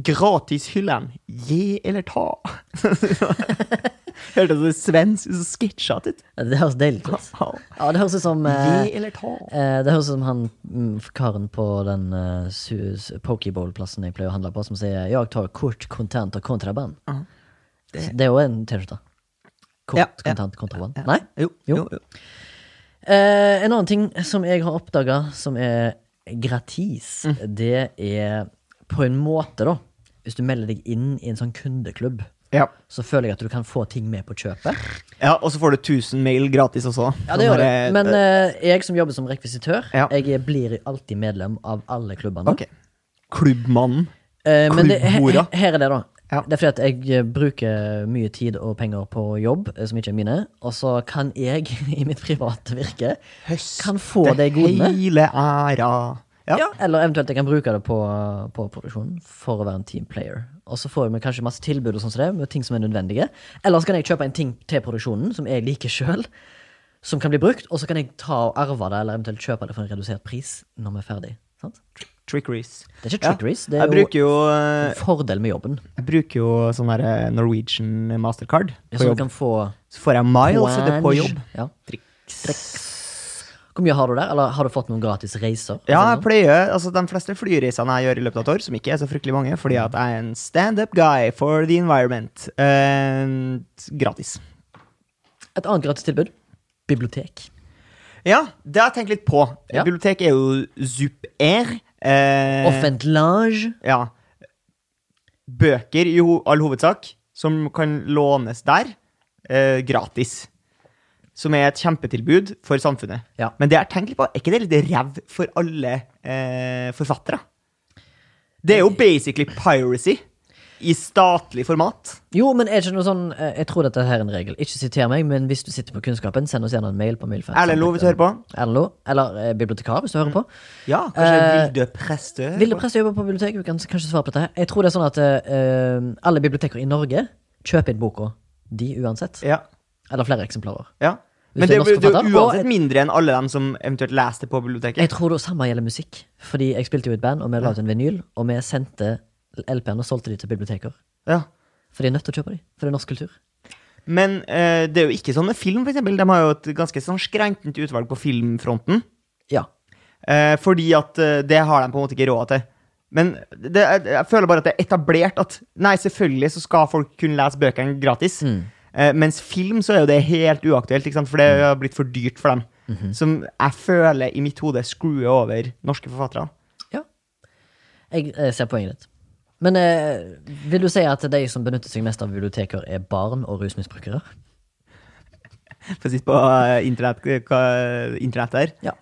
Gratishyllen, gi eller ta. Hørte du det svensk så sketsjete ut?
Det høres deilig ut. Ja, det høres ut som eh,
Gi eller ta.
eh, Det høres ut som han mm, karen på den eh, su- su- pokeball-plassen jeg pleier å handle på, som sier 'jeg tar kort, kontant og kontraband'. Så Det er jo en T-skjorte. Kort,
Ja, ja.
kontant, kontraband. Nei?
Jo.
Jo.
jo, jo.
Eh, en annen ting som jeg har oppdaga som er gratis,
Mm.
det er på en måte, da Hvis du melder deg inn i en sånn kundeklubb,
Ja.
så føler jeg at du kan få ting med på kjøpet.
ja, og så får du 1000 mail gratis også. da.
Ja, det
Sånn
gjør det.
her, eh,
Men eh, jeg som jobber som rekvisitør,
Ja.
jeg blir alltid medlem av alle klubbene.
Ok. Klubbmannen.
Eh, men det, he, he,
Klubbhora.
her er det, da.
Ja.
Det er fordi at jeg eh, bruker mye tid og penger på jobb eh, som ikke er mine, og så kan jeg i mitt private virke
Høste
Kan få de godene.
hele æra. Ja.
Ja, eller eventuelt jeg kan bruke det på, på produksjonen for å være en team player. Og så får vi kanskje masse tilbud og sånt som det, med ting som er nødvendige. Eller så kan jeg kjøpe en ting til produksjonen som jeg liker sjøl, som kan bli brukt, og så kan jeg ta og arve det, eller eventuelt kjøpe det for en redusert pris når vi er ferdig. Sant?
Trickeries.
Det er ikke trickeries, det er
Jeg
jo
bruker jo, eh,
en fordel med jobben.
jeg bruker jo sånn der eh, Norwegian mastercard
Ja, Så
på
du
jobb.
kan få
Så får jeg miles etter på
Wange.
jobb.
Ja. Hvor mye har du der? Eller har du fått noen gratis reiser?
Ja, jeg pleier, altså De fleste flyreisene jeg gjør i løpet av et år, som ikke er så fryktelig mange, fordi at jeg er en standup guy for the environment. Eh, gratis.
Et annet gratis tilbud? Bibliotek.
Ja, det har jeg tenkt litt på.
Ja.
Bibliotek er jo super. Eh,
Offent lange.
Ja. Bøker i ho all hovedsak, som kan lånes der, eh, gratis. Som er et kjempetilbud for samfunnet.
Ja.
Men det jeg har tenkt litt på, er ikke det litt ræv for alle eh, forfattere? Det er jo basically piracy i statlig format.
Jo, men er det ikke noe sånn eh, Jeg tror dette her er en regel. Ikke siter meg, men hvis du sitter på kunnskapen, send oss gjerne en mail på mailfans.
Erlend Loe, hvis du hører på. Mm.
Erlend Lo, eller eh, bibliotekar, hvis du hører på.
Ja, kanskje
Eh,
Vilde Prestø?
Vilde Prest jobber på biblioteket, vi kan s- kanskje svare på dette. her Jeg tror det er sånn at eh, alle biblioteker i Norge kjøper inn boka. De uansett.
Ja.
Eller flere eksemplarer.
ja.
Hvis
Men
du
det
er
er jo
norsk
det er
forfatter,
jo
og-
uansett mindre enn alle dem som eventuelt leser det på biblioteket.
Jeg tror det samme gjelder musikk. Fordi jeg spilte jo i et band, og vi la ut en vinyl, og vi sendte LP-en og solgte de til biblioteker.
Ja.
For de er nødt til å kjøpe de. For det er norsk kultur.
Men eh, det er jo ikke sånn med film, for eksempel. De har jo et ganske sånn skrentent utvalg på filmfronten.
Ja.
Eh, fordi at eh, det har de på en måte ikke råd til. Men det, er- jeg føler bare at det er etablert at nei, selvfølgelig så skal folk kunne lese bøkene gratis. Eh, mens film så er jo det helt uaktuelt, ikke sant? for det har blitt for dyrt for dem. Som jeg føler i mitt hode skruer over norske forfattere.
Ja. Jeg eh, ser poenget ditt. Men eh, vil du si at de som benytter seg mest av biblioteker, er barn og rusmisbrukere?
For å sitte på eh, internett, hva- internett der.
Ja.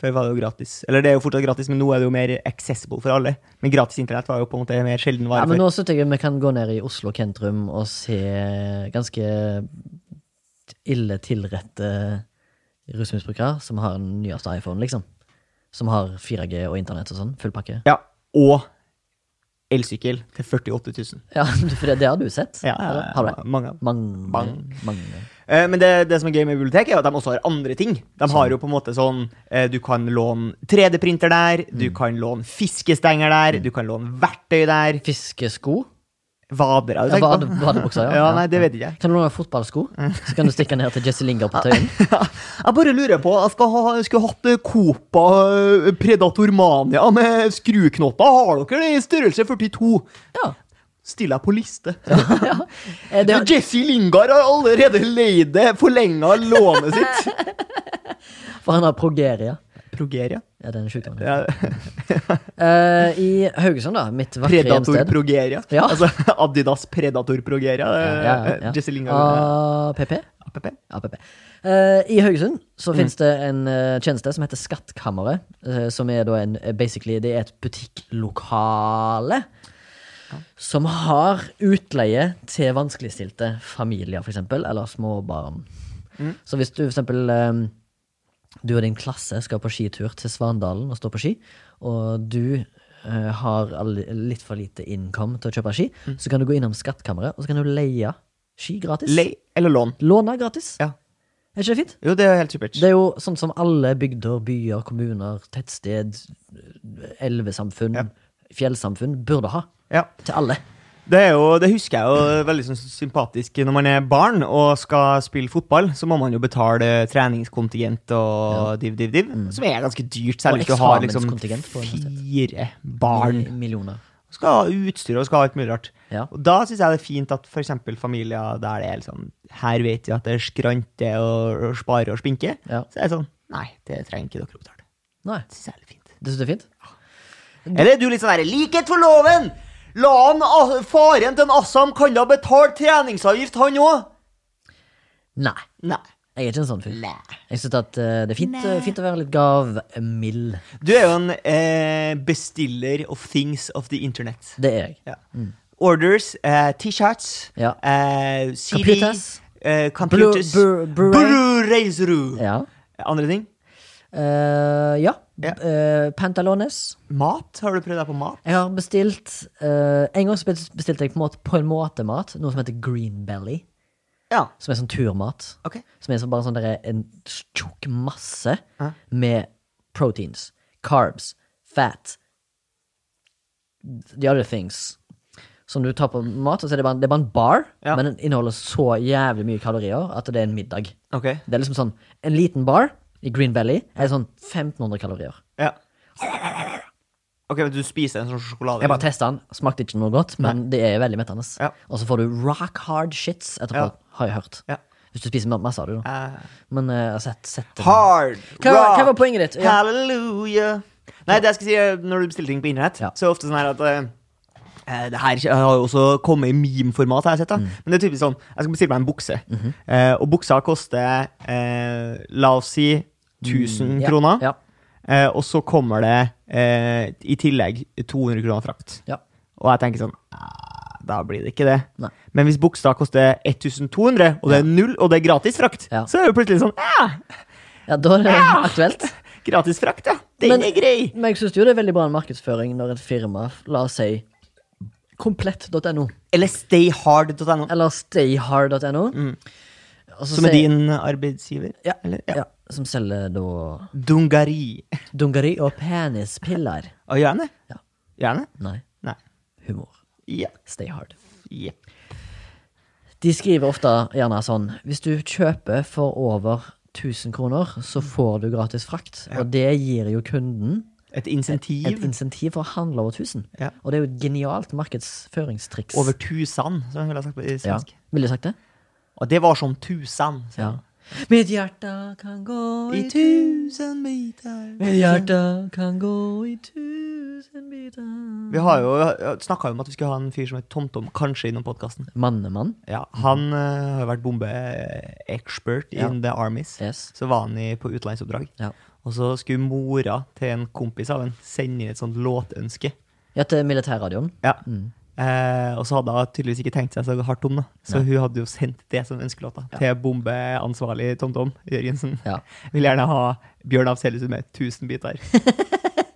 Før var det jo gratis. Eller det er jo fortsatt gratis, men nå er det jo mer accessible for alle. Men gratis internett var jo på en måte mer sjelden vare
ja men
før.
nå synes jeg vi kan gå ned i Oslo Kentrum og se ganske ille tilrette rusmisbrukere som har den nyeste iPhone, liksom. Som har 4G og internett og sånn. Full pakke.
Ja, og elsykkel til 48 000.
Ja, for det, det har du sett?
Ja,
eller? har du det?
mange av dem.
Mange,
Bang.
mange.
Eh, Men det, det som er gøy med bibliotek, er jo at de også har andre ting. De har jo på en måte sånn eh, Du kan låne 3D-printer
Mm.
der, du kan låne fiskestenger der, du kan låne verktøy der.
Fiskesko?
Vadere, du
Ja,
tenker
vade,
på?
vadebukser, ja.
Ja, nei, det vet jeg ikke.
Kan du låne fotballsko? Så kan du stikke ned til Jesse Lingard på Tøyen.
Jeg bare lurer på, jeg skal ha, jeg skulle hatt eh, Copa eh, Predator Mania med skruknotter. Har dere det i størrelse 42?
Ja.
Stiller jeg på liste.
Eh, Det,
Jesse Lingard har allerede leid det, forlenga lånet sitt.
for han har progeria.
Progeria?
Ja, den er sjuk. Ja.
Ja,
Eh, I Haugesund, da. Mitt vakre
Predator
hjemsted.
Progeria?
Ja.
Altså Adidas Predator Progeria? eh,
Ja, ja, Ah, ja.
Jesse Lingard. eh,
APP?
APP?
APP. Eh, I Haugesund så finnes det en eh, tjeneste som heter Skattkammeret. eh, som er da en eh, Basically, det er et butikklokale. Som har utleie til vanskeligstilte familier, f.eks., eller små barn. Så hvis du f.eks. du og din klasse skal på skitur til Svandalen og stå på ski, og du eh, har all- litt for lite innkom til å kjøpe ski, så kan du gå innom Skattkammeret, og så kan du leie ski gratis.
Lei eller lån?
Låne gratis.
Ja.
Er ikke det fint?
Jo, det er helt supert.
Det er jo sånn som alle bygder, byer, kommuner, tettsted, elvesamfunn, fjellsamfunn burde ha.
Ja.
Til alle.
Det, er jo, det husker jeg jo veldig sånn sympatisk. Når man er barn og skal spille fotball, så må man jo betale treningskontingent og div, div, div. Som er ganske dyrt,
Mm. Og
særlig hvis du har liksom
eksamenskontingent på universitetet.
fire barn.
Millioner.
Skal ha utstyr og skal ha alt mulig rart.
Ja.
Og da syns jeg det er fint at f.eks. familier der det er liksom Her vet vi at det er skrante og og spare og spinke.
Ja.
Så er det sånn Nei, det trenger ikke dere å betale.
Nei,
Det syns jeg er litt fint.
det synes jeg er fint.
Eller er du litt sånn der Likhet for loven! La han, ah, Faren til en Assam kan da betale treningsavgift, han òg?
Nei,
Nei.
jeg er ikke en sånn fyr.
Nei.
Jeg synes at eh, det er fint, eh, fint å være litt eh, gavmild.
Du er jo en eh, bestiller of things of the internet.
Det er jeg.
Ja. Orders, eh, T-shirts,
Mm. Ja.
eh, CD
Computers.
eh, computers
Blu- blu- Blu-ray.
Blu-rays-ru.
Ja.
Andre ting?
Eh, ja.
Ja.
Eh, Pantalones.
Mat? Har du prøvd deg på mat?
Jeg har bestilt eh, En gang så bestilte jeg på en måte, på en måte mat, noe som heter green belly.
Ja.
Som er sånn turmat.
Ok.
Som er så bare sånn der, en tjukk masse med proteins, carbs, fat, the other things. Som du tar på mat, og så er det bare, det er bare en bar,
Ja.
men den inneholder så jævlig mye kalorier at det er en middag.
Ok.
Det er liksom sånn, en liten bar i Green Valley er sånn 1500 kalorier.
Ja. Ok, men du spiser en sånn sjokolade?
Jeg bare
liksom.
testet den, smakte ikke noe godt, men det er veldig mettende.
Ja.
Og så får du rock hard shits etterpå,
Ja.
har jeg hørt.
Ja.
Hvis du spiser ma- masse av det da.
Eh,
Men eh, jeg har sett, sett det.
hard
Hva,
rock.
hva var poenget ditt? Ja.
Halleluja. Nei, det jeg skal si eh, når du bestiller ting på internett,
Ja.
så er det ofte sånn her at eh, eh, det her har jo også kommet i meme-format, har jeg
Mm.
sett. da Men det er typisk sånn Jeg skal bestille meg en bukse.
Mhm.
eh, og buksa koster eh, La oss si 1000
Mm, Ja,
kroner.
Ja,
Eh, og så kommer det eh, i tillegg 200 kroner frakt.
ja.
Og jeg tenker sånn "Ah, Da blir det ikke det.
Nei.
Men hvis buksa koster 1200, og det er null, og det er gratis frakt,
Ja.
så er det jo plutselig sånn "Ah,
ja, da er det
Ja!
aktuelt.
Gratis frakt, ja. Den
Men-
er grei.
Men jeg syns jo det er veldig bra markedsføring når et firma, la oss si komplett.no
Eller stayhard.no,
eller stayhard.no og så
Mm. som er
sier-
din arbeidsgiver.
ja,
Eller,
ja.
ja.
Som selger da
Dungari.
dungeri og penispiller.
Og gjerne?
Ja.
Gjerne?
Nei,
Nei.
humor.
Ja.
Stay hard.
ja.
De skriver ofte gjerne sånn Hvis du kjøper for over 1000 kroner, så får du gratis frakt. Og det gir jo kunden
Et insentiv
et insentiv for å handle over 1000.
Ja.
Og det er jo et genialt markedsføringstriks.
over tusen, som jeg ville ha sagt på i
ja.
svensk.
Ville du sagt det?
Og det var som tusen. sa
Ja.
jeg.
Mitt hjerte kan gå
I
i tu...
tusen biter.
Mitt hjerte kan gå i tusen biter
Vi har jo snakka om at vi skulle ha en fyr som het TomTom, kanskje innom podkasten.
Mannemann.
Ja, han eh, har vært bombeekspert in the armies.
Yes.
Så var han i, på utenlandsoppdrag.
Ja.
Og så skulle mora til en kompis av en sende inn et sånt låtønske.
Ja, til militærradioen.
Ja.
Mm.
Eh, og så hadde hun tydeligvis ikke tenkt seg så hardt om, da. Så hun hadde jo sendt det som ønskelåta til bombeansvarlig TomTom Jørgensen.
Ja.
Vil gjerne ha Bjørn Afselius med 1000 biter.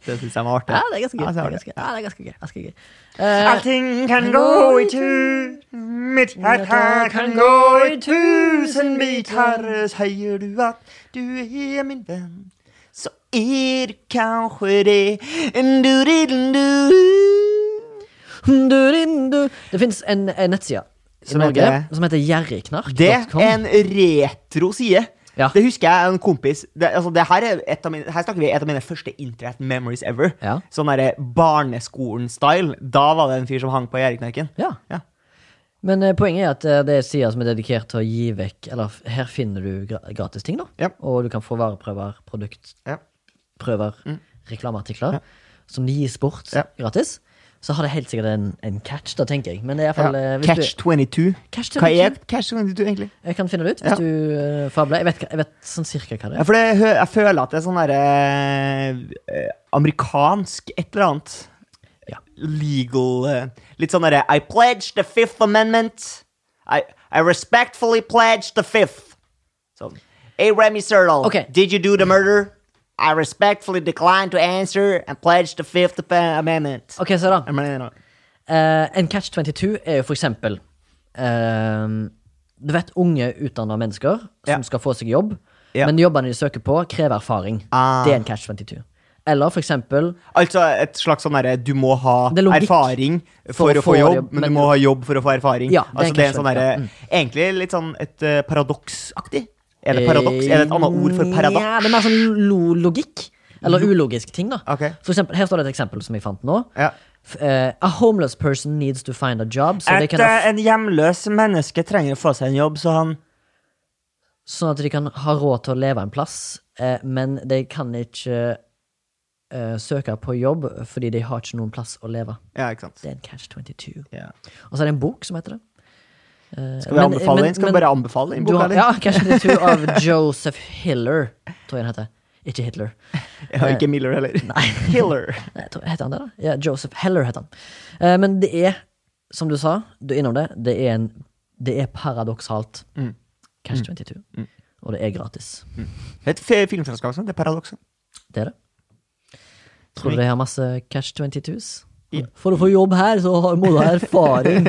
det syns jeg var artig.
Ja, det er ganske gøy.
Ja, så
det
er
er
det.
ganske, ja, det er ganske gøy. Ganske gøy. Eh,
Allting kan gå i tur, mitt hjerte kan gå i tusen biter. Sier du at du er min venn, så er du kanskje det. Du, du, du, du.
Du-din-du. Det fins en, en nettside i
Som
Norge
heter-
som heter jerryknark.com.
Det er en retro side.
Ja.
Det husker jeg en kompis det, altså det her, er et av mine, her snakker vi et av mine første internet memories ever.
Ja.
Sånn derre barneskolen-style. Da var det en fyr som hang på gjerdeknarken.
Ja.
Ja.
Men eh, poenget er at eh, det er sider som er dedikert til å gi vekk Eller f- her finner du gra gratis ting, da.
Ja.
Og du kan få vareprøver, produktprøver,
Ja.
reklameartikler som de gis bort
Mm. Ja.
gratis. Så har det helt sikkert en, en catch, da, tenker jeg. Men det er i hvert fall, eh,
Ja.
hvis
Catch 22.
Catch
Hva
22?
er Catch 22, egentlig?
Du, jeg kan finne det ut hvis
Ja.
du eh, fabler. Jeg vet, hva- jeg vet sånn cirka hva det
Ja,
er.
for det, hø- jeg føler at det er sånn derre eh, Amerikansk et eller annet.
Ja.
Legal eh, Litt sånn derre I pledge the fifth amendment. I, I respectfully pledge the fifth. Sånn. Hey, Remy Sertle.
Ok.
Did you do the murder? I respectfully decline to answer and pledge the fifth ap- amendment.
Ok, se da.
Jeg mener,
Eh, en catch 22 er jo for eksempel eh, Du vet unge utdanna mennesker som
Ja.
skal få seg jobb,
Ja.
men jobbene de søker på, krever erfaring.
Ah.
Det er en catch 22. Eller for eksempel
Altså et slags sånn derre Du må ha
Det er logikk
erfaring for, å få jobb, men du må ha jobb for å få erfaring.
Ja, det er
altså det er
kanskje
en
Mm.
sånn derre
det,
Egentlig litt sånn et eh, paradoksaktig. Er det paradoks? Er det et annet ord for
Eh,
paradoks?
Ja, det er mer sånn lo logikk. Eller ulogisk ting, da.
Ok.
For eksempel, her står det et eksempel som jeg fant nå.
Ja.
F- eh, a homeless person needs to find a job, so they
Et,
can
eh, en hjemløs menneske trenger å få seg en jobb, så han
sånn at de kan ha råd til å leve en plass, eh, men de kan ikke eh, søke på jobb fordi de har ikke noen plass å leve.
Ja, ikke sant.
Det er en catch 22.
Ja.
Og så er det en bok som heter det. Eh,
Skal vi
Men-
anbefale
men-
den? Skal
men-
vi bare anbefale den
Du
boka,
har,
eller?
ja, catch 22 av Joseph Hiller, tror jeg den heter. Ikke Hitler.
Ja, ikke Miller heller. Hiller.
Nei, jeg tror- Heter han det, da? Ja, Joseph Heller heter han. Eh, Men det er, som du sa, du er innom det, det er, en, det er paradoksalt.
Mm.
Catch 22. Og det er gratis.
Et sånn. f- filmselskap som heter Paradokset.
Det er det. Tror du
Snygg.
de har masse Catch 22s?
Ja.
For å få jobb her, så har- må du ha erfaring.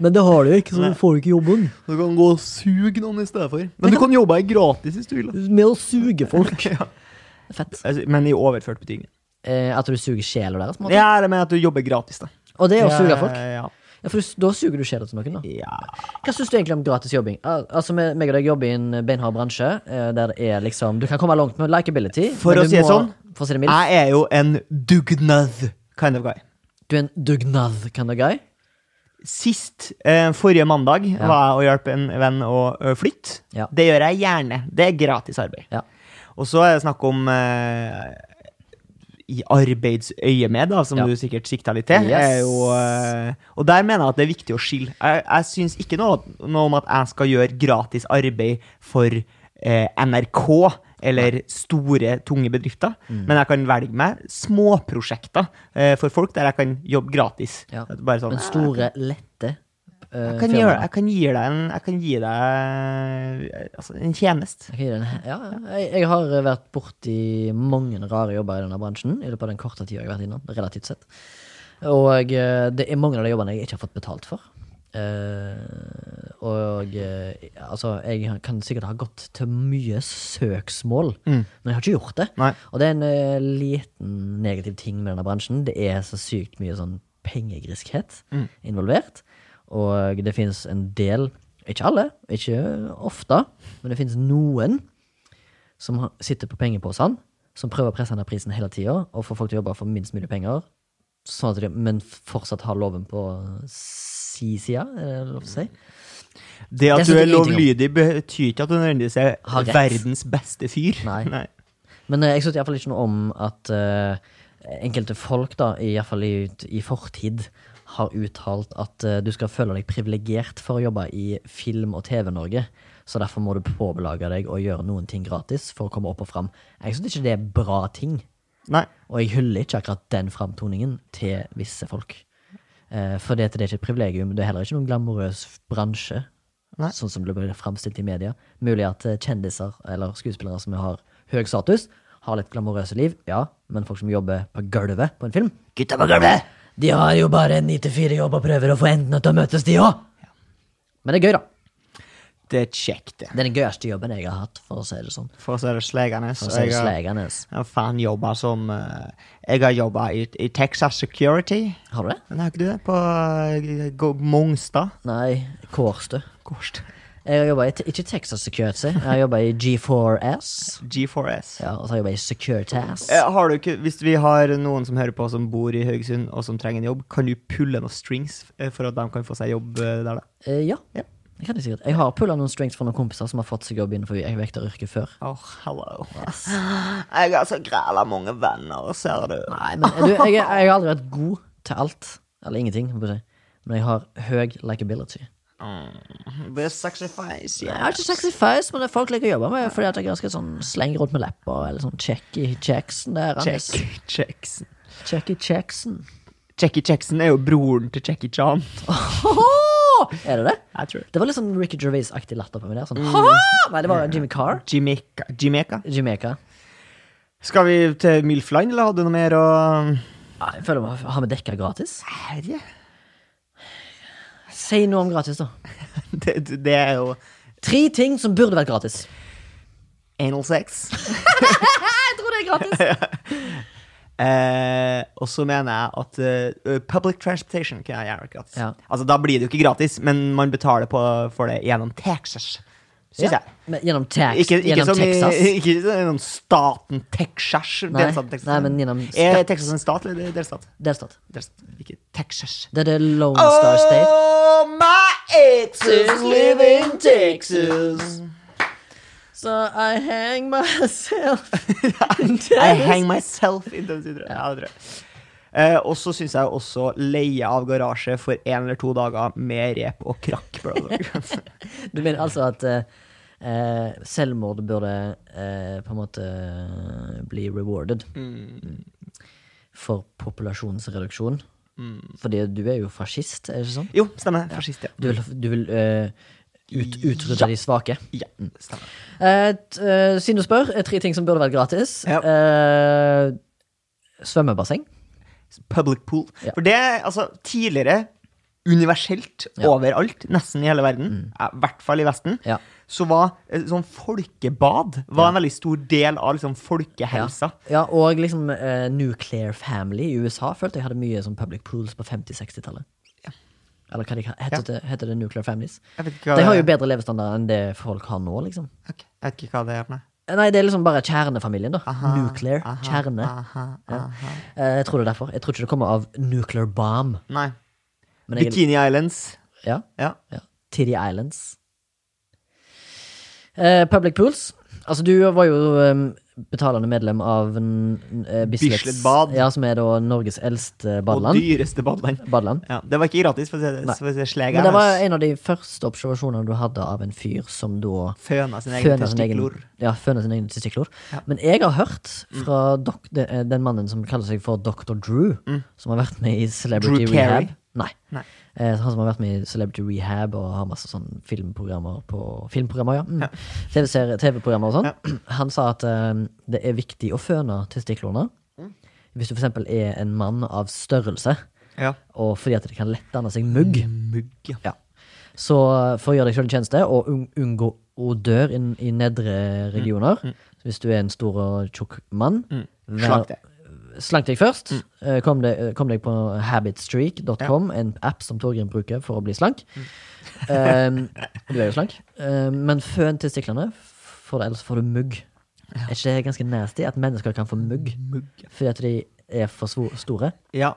Men det har du jo ikke, så du får jo ikke jobben.
Du kan gå og suge noen i stedet for. Men du kan jobbe her gratis hvis du vil. da.
Med å suge folk. Fett.
Altså, Men i overført betydning.
Eh, at du suger sjela deres. på en måte.
Ja, eller med at du jobber gratis, da.
Og det er å suge
Ja,
folk.
Ja.
Ja, for du, da suger du sjela til noen. da.
ja.
Hva syns du egentlig om gratis jobbing? Al- Altså, vi- meg og deg jobber i en beinhard bransje eh, der det er liksom Du kan komme langt med likability.
For
men
å
du
si det
må-
sånn,
For å si det mildt.
Jeg er jo en dugnad kind of guy.
Du er en dugnad kind of guy.
Sist, eh, forrige mandag,
Ja.
var jeg og hjalp en venn å ø, flytte.
Ja.
Det gjør jeg gjerne. Det er gratis arbeid.
Ja.
Og så er det snakk om eh, i arbeidsøyemed, da, som
Ja.
du sikkert sikta litt til.
Yes.
Er jo, eh, og der mener jeg at det er viktig å skille. Jeg, jeg syns ikke noe, noe om at jeg skal gjøre gratis arbeid for eh, NRK eller store, tunge bedrifter,
Mm.
men jeg kan velge meg småprosjekter eh, for folk der jeg kan jobbe gratis.
Ja.
At Bare sånn,
Men store, lette eh,
jeg kan, gjøre, jeg kan gi deg en, jeg kan gi deg, eh, altså, en tjeneste.
Jeg kan gi deg en he- Ja, ja. jeg, jeg har vært borti mange rare jobber i denne bransjen i løpet av den korte tida jeg har vært innom. relativt sett. Og eh, det er mange av de jobbene jeg ikke har fått betalt for. Eh, og eh, altså, jeg kan sikkert ha gått til mye søksmål, men jeg har ikke gjort det.
Nei.
Og det er en eh, liten negativ ting med denne bransjen. Det er så sykt mye sånn pengegriskhet involvert. Og det finnes en del, ikke alle, ikke ofte, men det finnes noen som ha- sitter på pengeposen, som prøver å presse ned prisen hele tida og få folk til å jobbe for minst mulig penger, sånn at de, men fortsatt har loven på si side, er det lov å si?
Det
Det
at du
synes
er
jeg ingenting om.
lovlydig, betyr ikke at du nødvendigvis er
Har rett.
verdens beste fyr.
Nei. Men eh, jeg synes i hvert fall ikke noe om at eh, enkelte folk, da, i hvert fall i, i fortid, har uttalt at eh, du skal føle deg privilegert for å jobbe i film- og TV-Norge. Så derfor må du påbelage deg å gjøre noen ting gratis for å komme opp og fram. Jeg synes ikke det er bra ting.
Nei.
Og jeg hyller ikke akkurat den framtoningen til visse folk. Eh, for det, at det er ikke et privilegium. Det er heller ikke noen glamorøs bransje,
Nei.
sånn som det blir framstilt i media. Mulig at eh, kjendiser eller skuespillere som har høy status, har litt glamorøse liv, ja, men folk som jobber på gulvet på en film
Gutta på gulvet!
De har jo bare en 9-4-jobb og prøver å få endene til å møtes, de òg! Men det er gøy, da.
Det er kjekt, det.
Det er den gøyeste jobben jeg har hatt, for å si det sånn.
For så er det slegende.
For
og
å si det
jeg har-
slegende.
Jeg har faen jobba som eh, Jeg har jobba i, i Texas Security.
Har du det?
Men har ikke du det? På eh, Go- Mongstad.
Nei, Kårstø.
Korst.
Jeg har jobba i te- ikke Texas Security, jeg har jobba i G4S.
G4S.
Ja, og så har jeg jobba i Securitas.
Eh, Har du ikke, hvis vi har noen som hører på som bor i Haugesund og som trenger en jobb, kan du pulle noen strings eh, for at de kan få seg jobb eh, der, da?
Eh, ja.
Ja.
Det kan jeg sikkert. Jeg har pulla noen strings for noen kompiser som har fått seg jobb innenfor vekteryrket før.
Oh, hello. Jeg har så græla mange venner, ser du.
Nei, men du, jeg, er- jeg har aldri vært god til alt. Eller ingenting, må jeg si. Men jeg har høy likability.
Det er sexy face,
Jeg
ja.
har ikke sexy face, men det er folk liker å jobbe med fordi at jeg er ganske sånn slenger rundt med lepper. Eller sånn checky checksen der. Anders.
Check, Jackson.
Checky checksen.
Jackie Jackson er jo broren til Jackie Chan.
Ho-ho! Er det det?
Jeg tror det.
Det var litt sånn Ricky Gervais-aktig latter på meg der. Sånn, «Ha-ha!» Nei, det var Jimmy Carr.
Jamaica. Jamaica.
Jamaica.
Skal vi til Milfland, eller hadde du noe mer å
Ja, jeg føler vi har- Har vi dekka gratis?
Herje?
Si noe om gratis, da.
Det, det er jo
Tre ting som burde vært gratis.
anal sex.
Jeg tror det er gratis.
Eh, og så mener jeg at eh, public transportation kan jeg gjøre gratis.
Ja.
Altså, da blir det jo ikke gratis, men man betaler på, for det gjennom Texas, syns
Ja.
jeg.
Men Gjennom, tax,
Ikke, ikke,
gjennom
som,
Texas.
i, ikke som gjennom staten Texas.
Nei,
delstaten Texas.
nei, men gjennom
Er
stat-
Texas en stat eller delstat?
Delstat.
delstat. Ikke Texas.
Det er det Lone Star State.
Oh, my exes live in Texas.
So I hang myself.
I hang myself in those videre. Ja, det tror jeg. Eh, og så syns jeg også leie av garasje for én eller to dager med rep og krakk. Bro.
Du mener altså at eh, eh, selvmord burde eh, på en måte eh, bli rewarded?
Mm.
For populasjonsreduksjon?
Mm.
Fordi du er jo fascist, er det ikke sånn?
jo, stemmer. Fascist, ja.
Du vil, du vil eh, ut, utrydde de svake?
ja stemmer.
Eh, t, eh, siden du spør, eh, tre ting som burde vært gratis.
Ja.
Eh, svømmebasseng.
Public pool.
Ja.
For det er altså tidligere universelt
Ja. Mm.
overalt, nesten i hele verden, ja, i hvert fall i Vesten,
Ja.
så var eh, sånn folkebad var en veldig stor del av liksom, folkehelsa.
Ja, og liksom eh, Nuclear Family i USA følte jeg hadde mye sånn public pools på 50-60-tallet. Eller hva de heter,
Ja.
det, heter det Nuclear Families?
Jeg vet ikke hva
De har jo
det er.
bedre levestandard enn det folk har nå, liksom.
Ok, Jeg vet ikke hva det er. for noe.
Eh, Nei, det er liksom bare kjernefamilien, da. nuclear.
aha,
kjerne.
Aha, aha.
Eh, jeg tror det er derfor. Jeg tror ikke det kommer av nuclear bomb.
Nei.
Men jeg,
Bikini Islands.
ja,
Ja.
ja. Tiddy Islands. Eh, public pools. Altså, du var jo eh, betalende medlem av uh, Bislett
Bislett Bad.
Ja, som er da Norges eldste
Og
badeland.
dyreste badeland.
badeland.
Ja, det var ikke gratis, for å si det,
Nei.
for å si det
Men
slegende.
det var en av de første observasjonene du hadde av en fyr som da
Føna sin egen
føner sin egen,
testiklor. Mm.
ja, føner sin egen testiklor. Men jeg har hørt fra dok, de, eh, den mannen som kaller seg for Dr. Drew, som har vært med i Celebrity
Mm. Drew Carey?
Rehab. Nei.
Nei.
Eh, han som har vært med i Celebrity Rehab og har masse sånn filmprogrammer på Filmprogrammer, ja. Mm. TV-serier- TV-programmer og sånn. Han sa at eh, det er viktig å føne testiklorene.
Mm.
Hvis du for eksempel er en mann av størrelse,
Ja.
og fordi at det kan lette annet seg mugg.
Mugg, ja.
Ja. Så for å gjøre deg selv en tjeneste, og un unngå odør i, i nedre regioner så Hvis du er en stor og tjukk mann, vær-
Mm, Slakt Mm. det.
slank deg først. Eh, Kom, deg, eh, kom deg på habitstreak.com, en app som Torgrim bruker for å bli slank.
Mm.
Ehm, du er jo slank. Ehm, men føn testiklene, for ellers får du mugg. Er ikke det ganske nasty at mennesker kan få mugg
Mugg.
fordi at de er for svo- store?
Ja.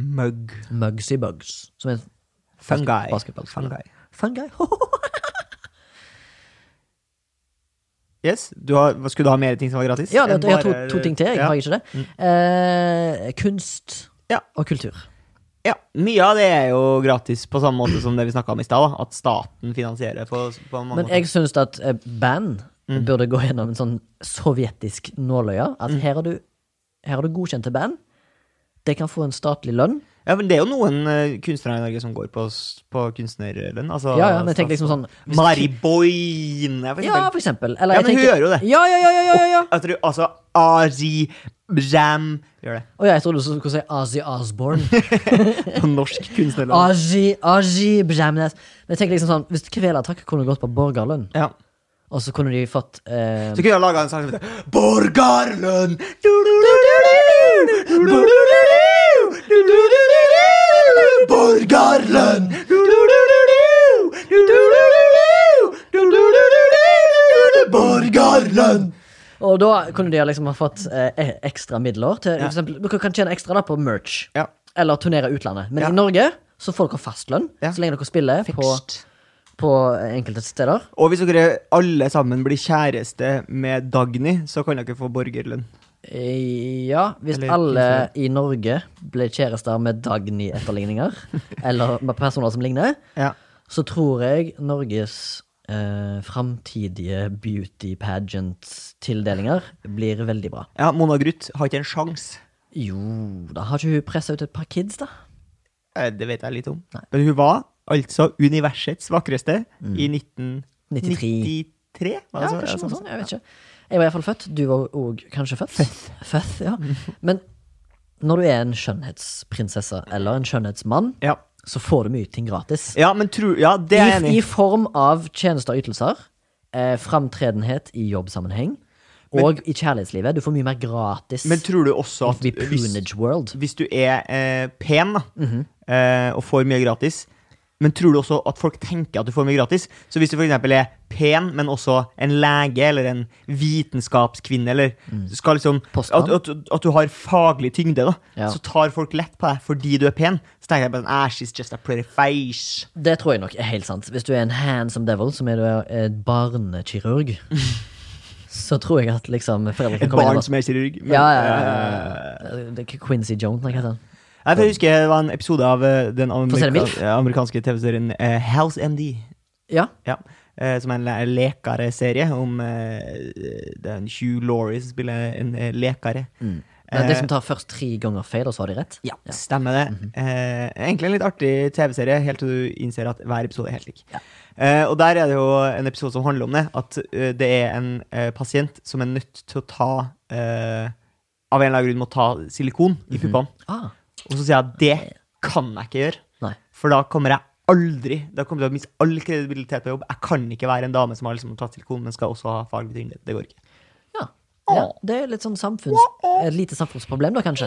Mugg.
Mugsy Bugs, som er en
Fungi.
Basketballspiller.
Fungi.
Fungi.
Yes, du har, hva, Skulle du ha mer ting som var gratis?
ja, det,
Enn
jeg har to,
bare-
to ting til. Jeg
ja. Mm.
har ikke det. Eh, kunst
Ja.
og kultur.
ja, Mye av det er jo gratis, på samme måte som det vi snakka om i stad. da, At staten finansierer på, på mange
Men jeg syns at eh, band
Mm.
burde gå gjennom en sånn sovjetisk nåløye. At her er du, her er du godkjent til band. De kan få en statlig lønn.
måter. Ja, men det er jo noen eh, kunstnere i Norge som går på, s- på kunstnerlønn. Altså,
Ja, ja, men tenk liksom sånn
Mari Boine, for
Ja,
eksempel.
for eksempel. Eller,
Ja,
jeg
men hun
tenker-
gjør jo det.
Ja, ja, ja, ja, ja, ja.
Jeg tror, altså, Ari Bram gjør det.
Og jeg trodde du skulle si Ozzy Osbourne.
På norsk kunstnerlønn.
Ozzy, Ozzy Bramnes. Men jeg tenker liksom sånn, hvis Kvelertak kunne gått på borgerlønn,
Ja.
og så kunne de fått eh,
Så kunne jeg laga en sang som heter Borgarlønn! Du-du-du-du-du! Du-du-du-du-du! Du-du-du-du-du! Borgarlønn! Du-du-du-du-du! Du-du-du-du-du! Du-du-du-du-du! Borgarlønn!
Og da kunne de liksom ha fått eh, e- ekstra midler til for eksempel, Dere kan tjene ekstra da på merch.
Ja.
Eller turnere i utlandet. Men
Ja.
i Norge så får dere fastlønn
Ja.
så lenge dere spiller på, på enkelte steder.
Og hvis dere alle sammen blir kjæreste med Dagny, så kan dere få borgerlønn.
Eh, Ja, hvis
Eller
alle i Norge ble kjærester med Dagny-etterligninger, eller med personer som ligner,
Ja.
så tror jeg Norges eh, framtidige beauty pageant-tildelinger blir veldig bra.
ja Mona Gruth har ikke en sjanse.
Jo da, har ikke hun pressa ut et par kids, da?
Eh, Det vet jeg litt om.
Nei. Mm.
Men hun var altså universets vakreste i 1993. var
Ja,
det så-
kanskje noe
sånn-
sånt. Jeg vet ikke. Jeg var iallfall født. Du var òg kanskje født. Født, ja. Men når du er en skjønnhetsprinsesse eller en skjønnhetsmann,
Ja.
så får du mye ting gratis.
ja, men tro, ja, det er jeg enig
I, I
i.
form av tjenester og ytelser, eh, framtredenhet i jobbsammenheng og i kjærlighetslivet. Du får mye mer gratis
Men tror du også at
i
hvis,
Prunage World.
hvis du er eh, pen da,
Mhm.
eh, og får mye gratis men tror du også at folk tenker at du får mye gratis? Så hvis du f.eks. er pen, men også en lege eller en vitenskapskvinne, eller skal liksom
Mm. Postmann.
at, at, at du har faglig tyngde, da,
Ja.
så tar folk lett på deg fordi du er pen. Så tenker jeg bare sånn, ah, she's just a pretty face.
Det tror jeg nok er helt sant. Hvis du er en handsome devil, som er du er barnekirurg, så tror jeg at liksom foreldre
Et
kan komme inn
barn
og
som er kirurg. men-
Ja, ja, ja,
Eh,
ja, ja. Det er ikke Quincy Jones, nei, hva heter han?
Nei, for Jeg husker det var en episode av eh, den
se det,
amerika
Milf?
ja, amerikanske TV-serien eh, House MD.
Ja.
Ja. eh, som er en le- lekare-serie om eh, det er en Hugh Laurie som spiller en eh, lekare. Eh,
Det er de som tar først tre ganger feil, og så har de rett?
Ja, stemmer det. eh, egentlig en litt artig TV-serie, helt til du innser at hver episode er helt lik. Eh, og der er det jo en episode som handler om det, at eh, det er en eh, pasient som er nødt til å ta eh, Av en eller annen grunn må ta silikon i puppene.
Ah,
Og så sier jeg at det kan jeg ikke gjøre.
nei.
For da kommer jeg aldri Da kommer jeg til å miste all kredibilitet på jobb. Jeg kan ikke være en dame som har liksom tatt silikon, men skal også ha faglig tyngde. Det går ikke.
Ja. ja. Det er litt sånn samfunns... Et lite samfunnsproblem, da, kanskje?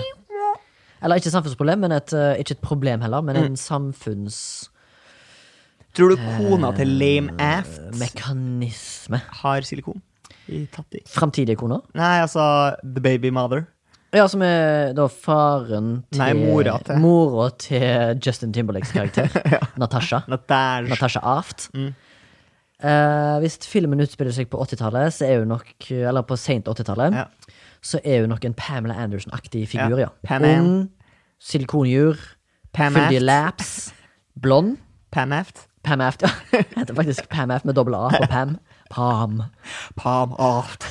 Eller ikke samfunnsproblem, men et, eh, ikke et problem heller, men
Mm.
en samfunnsmekanisme.
Tror du kona til Lame Aft har silikon i tatti?
Framtidige koner?
Nei, altså The Baby Mother.
Ja, som er da faren til
Nei, mora til.
mora til Justin Timberlakes karakter. Natasha.
Natasha.
Natasha Aft.
Mm.
Eh, hvis filmen utspiller seg på 80-tallet, så er hun nok Eller på sent 80-tallet,
Ja.
så er hun nok en Pamela Anderson-aktig figur, ja.
Ja, Pam Ann.
Ung, silikonjur,
Pam
fyldige
Aft.
laps, blond.
Pam Aft.
Pam Aft, ja. Jeg heter faktisk Pam Aft med dobbel A på Pam. Pam.
Pam Aft.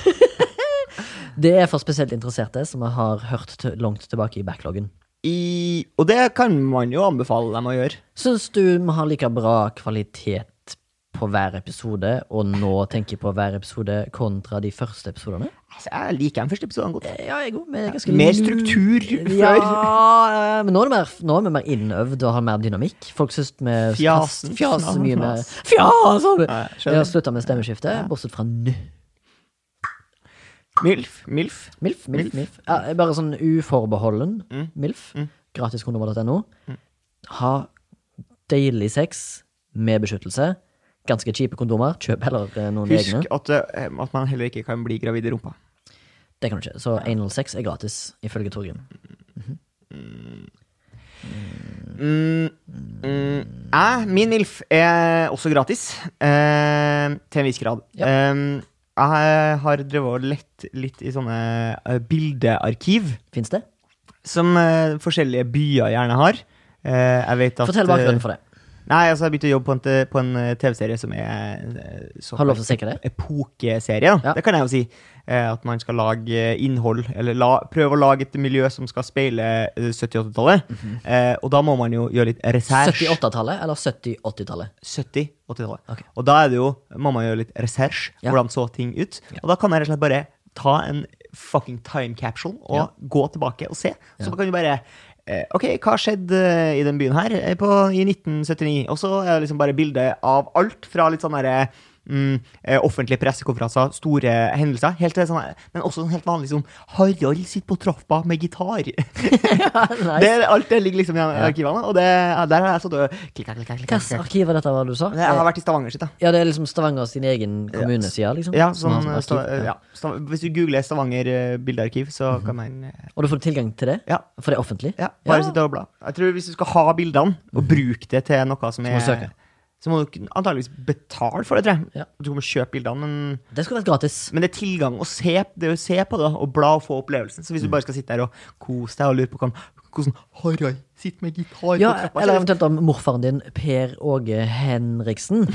Det er for spesielt interesserte som har hørt til, langt tilbake i backloggen.
I, og det kan man jo anbefale dem å gjøre.
Syns du vi har like bra kvalitet på hver episode, og nå tenker jeg på hver episode kontra de første episodene?
Altså, jeg liker den første episoden godt.
Ja, jeg òg. Vi er ganske
Mer
lu-
struktur
Ja,
før.
eh, men nå er, det mer, nå er vi mer innøvd og har mer dynamikk. Folk syns vi
Fjasen.
kast- fjaser mye mer.
Fjas.
Fjaser!
Nei,
Vi
skjønner.
har slutta med stemmeskifte, bortsett fra nå.
Milf. Milf. Mm.
Milf, milf, milf. Ja, bare sånn uforbeholden milf. Gratiskondom.no. Ha deilig sex med beskyttelse. Ganske kjipe kondomer. Kjøp heller eh, noen
Husk
egne.
at, eh, at man heller ikke kan bli gravid i rumpa.
Det kan du ikke. Så anal sex er gratis, ifølge Torgrim.
Jeg, min MILF, er også gratis. Eh, til en viss grad. Eh, jeg har drevet og lett litt i sånne eh, bildearkiv
Fins det?
som eh, forskjellige byer gjerne har. Eh, jeg vet at eh,
Fortell bakgrunnen for det.
Nei, Nei, altså, jeg begynte å jobbe på en, te- på en eh, TV-serie som er eh, såkalt
Har lov til å stikke det?
epokeserie. Da.
Ja.
Det kan jeg jo si. Eh, at man skal lage eh, innhold, eller la, prøve å lage et miljø som skal speile eh, 70- og 80-tallet.
Mhm.
eh, og da må man jo gjøre litt research.
70-80-tallet eller 70-80-tallet?
70-, 80-tallet.
Ok.
Og da er det jo, må man gjøre litt research.
Ja.
Hvordan så ting ut? Og da kan jeg rett og slett bare ta en fucking time capsule og
Ja.
gå tilbake og se. Så
Ja.
kan du bare eh, Ok, hva skjedde eh, i den byen her eh, på, i 1979? Og så er det liksom bare bilde av alt fra litt sånn derre Mm, eh, offentlige pressekonferanser, store hendelser. Helt til sånn, men også sånn helt vanlig sånn Harald sitter på trappa med gitar. Det,
nice.
er- alt det ligger liksom i arkivene. Og det, ja, der har jeg stått og klikk, klikk, klikk, klikk, klikk,
Hvilket
klikk.
arkiv var dette, hva du sa?
Jeg har vært i Stavanger sitt, da.
Ja, det er liksom Stavanger sin egen kommune, sier liksom.
Ja,
som har
sånn,
arkiv.
sta, ja. Sta, hvis du googler Stavanger eh, bildearkiv, så kan man eh,
Og du får tilgang til det?
Ja.
For det er offentlig?
ja, bare
Mhm. Ja. Mhm.
sitte og bla. Jeg tror Hvis du skal ha bildene, og bruke det til noe
må
som er
du søke.
Så må du antakeligvis betale for det, tror jeg.
Ja.
Du kommer kjøpe bildene, men,
Det skulle vært gratis.
men det er tilgang å se, det er å se på det, og bla og få opplevelsen. Så hvis du
Mhm.
bare skal sitte der og kose deg og lure på hvordan, hvordan Harald sitter med gitar
Ja,
på trappa
eller
så-
eventuelt om morfaren din, Per Åge Henriksen,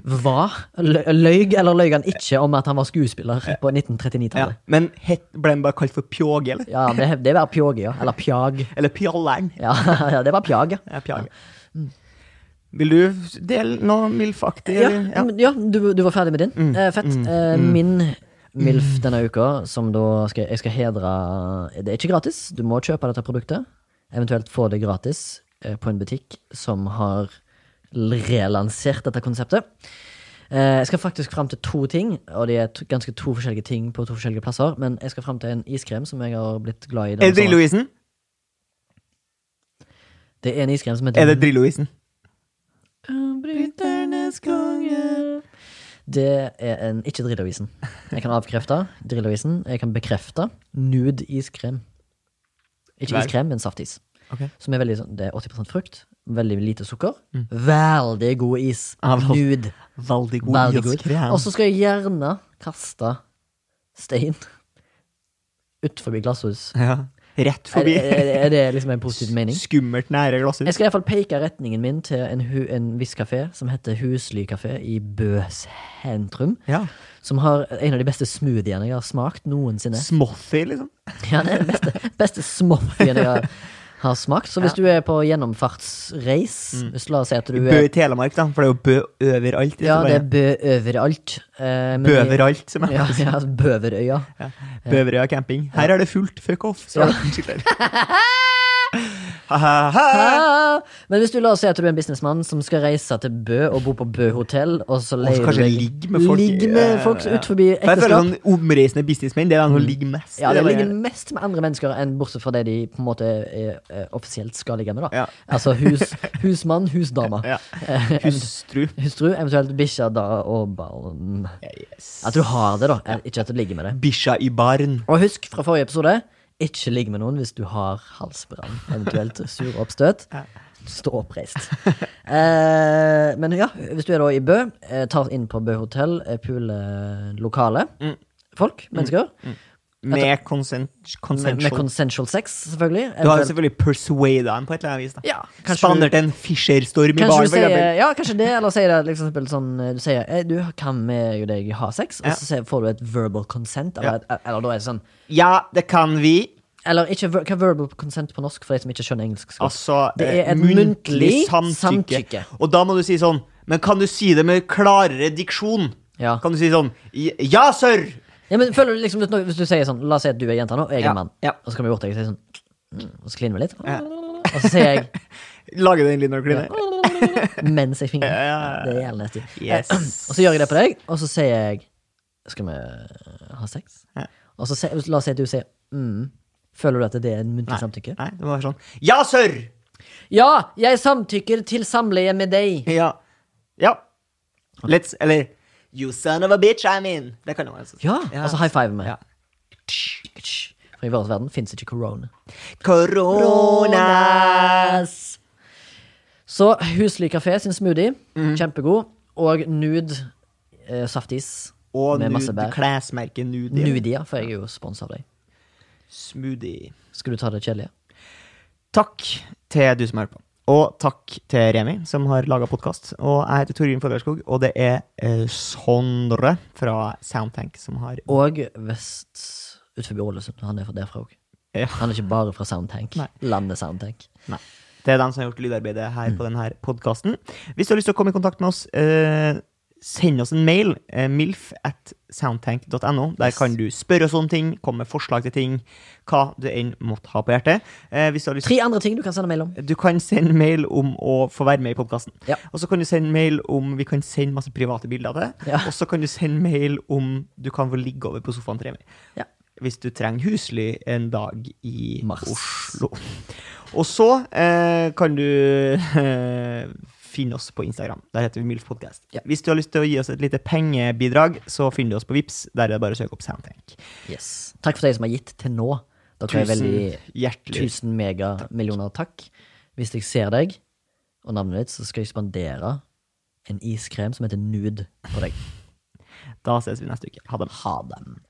var lø- løy eller løy han ikke om at han var skuespiller på
ja.
1939-tallet?
Men het, ble den bare kalt for Pjåge, eller?
Ja, det, det var Pjåge, ja. Eller Pjag.
Eller Pjaller'n.
Ja, ja det var Pjag, ja.
Ja, Pjage. Vil du dele noe mildfaktig?
Ja, Mm.
eller?
men- ja du, du var ferdig med din.
Mm.
Eh, fett. Eh, min MILF denne uka, som da skal, jeg skal hedre Det er ikke gratis. Du må kjøpe dette produktet. Eventuelt få det gratis eh, på en butikk som har l- relansert dette konseptet. Eh, jeg skal faktisk fram til to ting, og de er to, ganske to forskjellige ting på to forskjellige plasser. Men jeg skal fram til en iskrem som jeg har blitt glad i. denne
Er det
sommeren.
Drillo-isen?
Det er en iskrem som heter
Er det Drillo-isen?
Bryternes konge. Det er en Ikke Drillovisen. Jeg kan avkrefte Drillovisen. Jeg kan bekrefte nude iskrem. Ikke
Vel.
iskrem, men saftis.
Ok.
Som er veldig sånn Det er 80 frukt, veldig lite sukker.
Mm.
Veldig god is.
Ja, vel-
Nude.
Veldig god.
Veldig god.
iskrem.
Og så skal jeg gjerne kaste stein utenfor glasshus.
ja. Rett
Er,
forbi.
er, er det liksom en positiv mening?
Skummelt nære glasshus.
Jeg skal iallfall peke retningen min til en, hu, en viss kafé som heter Husly kafé i Bø sentrum.
Ja.
Som har en av de beste smoothiene jeg har smakt noensinne.
Smothy, liksom.
Ja, det er den beste, beste smoothien jeg har, har smakt. Så hvis du er på gjennomfartsreis hvis La oss si at du
Bø
er
Mm. i Telemark, da, for det er jo Bø overalt.
Ja, det er
er
Bø overalt. eh, men-
Bøveralt, som jeg
Ja, ja, Bøverøya.
Bøverøya camping. Her er det fullt, fuck off. Så
Ja.
er det fullt der. Ha, ha, ha.
Ah! Men hvis du la oss si at du er en businessmann som skal reise til Bø og bo på Bø hotell, og så leier du
kanskje
deg-
ligge med folk i-
ligge med folk
Ja, ja.
ut forbi
For jeg føler
ekteskap
sånn Omreisende businessmenn, det er de som ligger mest.
Ja,
Det
det
er bare-
ligger mest med andre mennesker enn bortsett fra det de på en måte er, eh, offisielt skal ligge med, da.
Ja.
Altså hus, husmann, husdame. Eh,
ja. Hustru.
Hustru, eventuelt bikkja da og barn.
Yes.
At du har det, da. eh, Ikke at du ligger med det.
Bikkja i baren.
Og husk fra forrige episode, ikke ligg med noen hvis du har halsbrann, eventuelt sure oppstøt. Stå oppreist. Eh, men ja, hvis du er da i Bø, eh, ta inn på Bø hotell, eh, pule lokale.
Mm.
Folk, mennesker.
Med consent,
Med, med
consensual
consensual sex, selvfølgelig.
Du har
Eventuelt-
jo selvfølgelig persuada dem på et eller annet vis. da
Ja, kanskje du-
Spandert en Fischer-storm i
Kanskje
baren,
du
for
sier,
eksempel.
ja, kanskje det, eller sier det liksom, for eksempel sånn eh, Du sier eh, du kan med deg ha sex, og
Ja.
så sier- får du et verbal consent. Eller, eller da er det sånn
Ja, det kan vi.
Eller ikke ver, hva er verbal consent på norsk, for de som ikke skjønner engelsk. Skal.
Altså
Det er
eh,
et muntlig samtykke.
Og da må du si sånn Men kan du si det med klarere diksjon?
Ja.
Kan du si sånn Ja, sir!
Ja, men føler du liksom litt nå- Hvis du sier sånn La oss si at du er jenta nå, og jeg er
Ja,
mann.
ja.
Og så kommer jeg bort til deg og sier sånn mm, Og så kliner vi litt. Og så sier jeg
Lage den lyden når du kliner.
mens jeg fingrer.
ja, ja.
Det er jævlig nasty. Eh,
Yes.
Og så gjør jeg det på deg, og så sier jeg Skal vi eh, ha sex?
Ja.
Og så sier, la oss si at du sier mm. Føler du at det er en muntlig samtykke?
Nei, det må være sånn. Ja, sir!
Ja, jeg samtykker til samleie med deg.
Ja. Ja. Let's Eller You son of a bitch, I'm in. Det kan jo være sånn.
Ja,
Ja.
altså high five med.
Ja.
For i vår verden fins ikke korona.
Korona!
Så Husly kafé sin smoothie,
Mhm.
kjempegod. Og nude eh, saftis
Og
med masse
nude,
bær.
klesmerket Nudie.
Nudia, for jeg er jo sponsa av deg.
Smoothie.
Skal du ta det kjedelige?
Takk til du som hører på. Og takk til Remi, som har laga podkast. Og jeg heter Torgrim Fagerskog, og det er eh, Sondre fra Soundtank som har
Og vest ut forbi Ålesund. Han er fra derfra òg.
Ja.
Han er ikke bare fra Soundtank.
Nei.
Landet Soundtank.
Nei. Det er dem som har gjort lydarbeidet her
Mm.
på denne podkasten. Hvis du har lyst til å komme i kontakt med oss, eh, send oss en mail. Eh, milf at soundtank.no. Der kan du spørre oss om ting, komme med forslag til ting, hva du enn måtte ha på hjertet. Eh, hvis du har lyst
Tre andre ting du kan sende mail om.
du kan sende mail om å få være med i podkasten.
Ja.
Og så kan du sende mail om vi kan sende masse private bilder av det.
Ja.
Og så kan du sende mail om du kan få ligge over på sofaen til Remi.
Ja.
Hvis du trenger husly en dag i
Mars.
Oslo. Og så eh, kan du eh, finne oss på Instagram. Der heter vi Milf Podcast.
Ja.
Hvis du har lyst til å gi oss et lite pengebidrag, så finner du oss på Vips. Der er det bare å søke opp Soundtank.
Yes. Takk for deg som har gitt til nå. Dere er
Tusen
veldig
hjertelig.
1000 megamillioner takk. Hvis jeg ser deg og navnet ditt, så skal jeg spandere en iskrem som heter Nude på deg.
Da ses vi neste uke. Ha det.
Ha dem.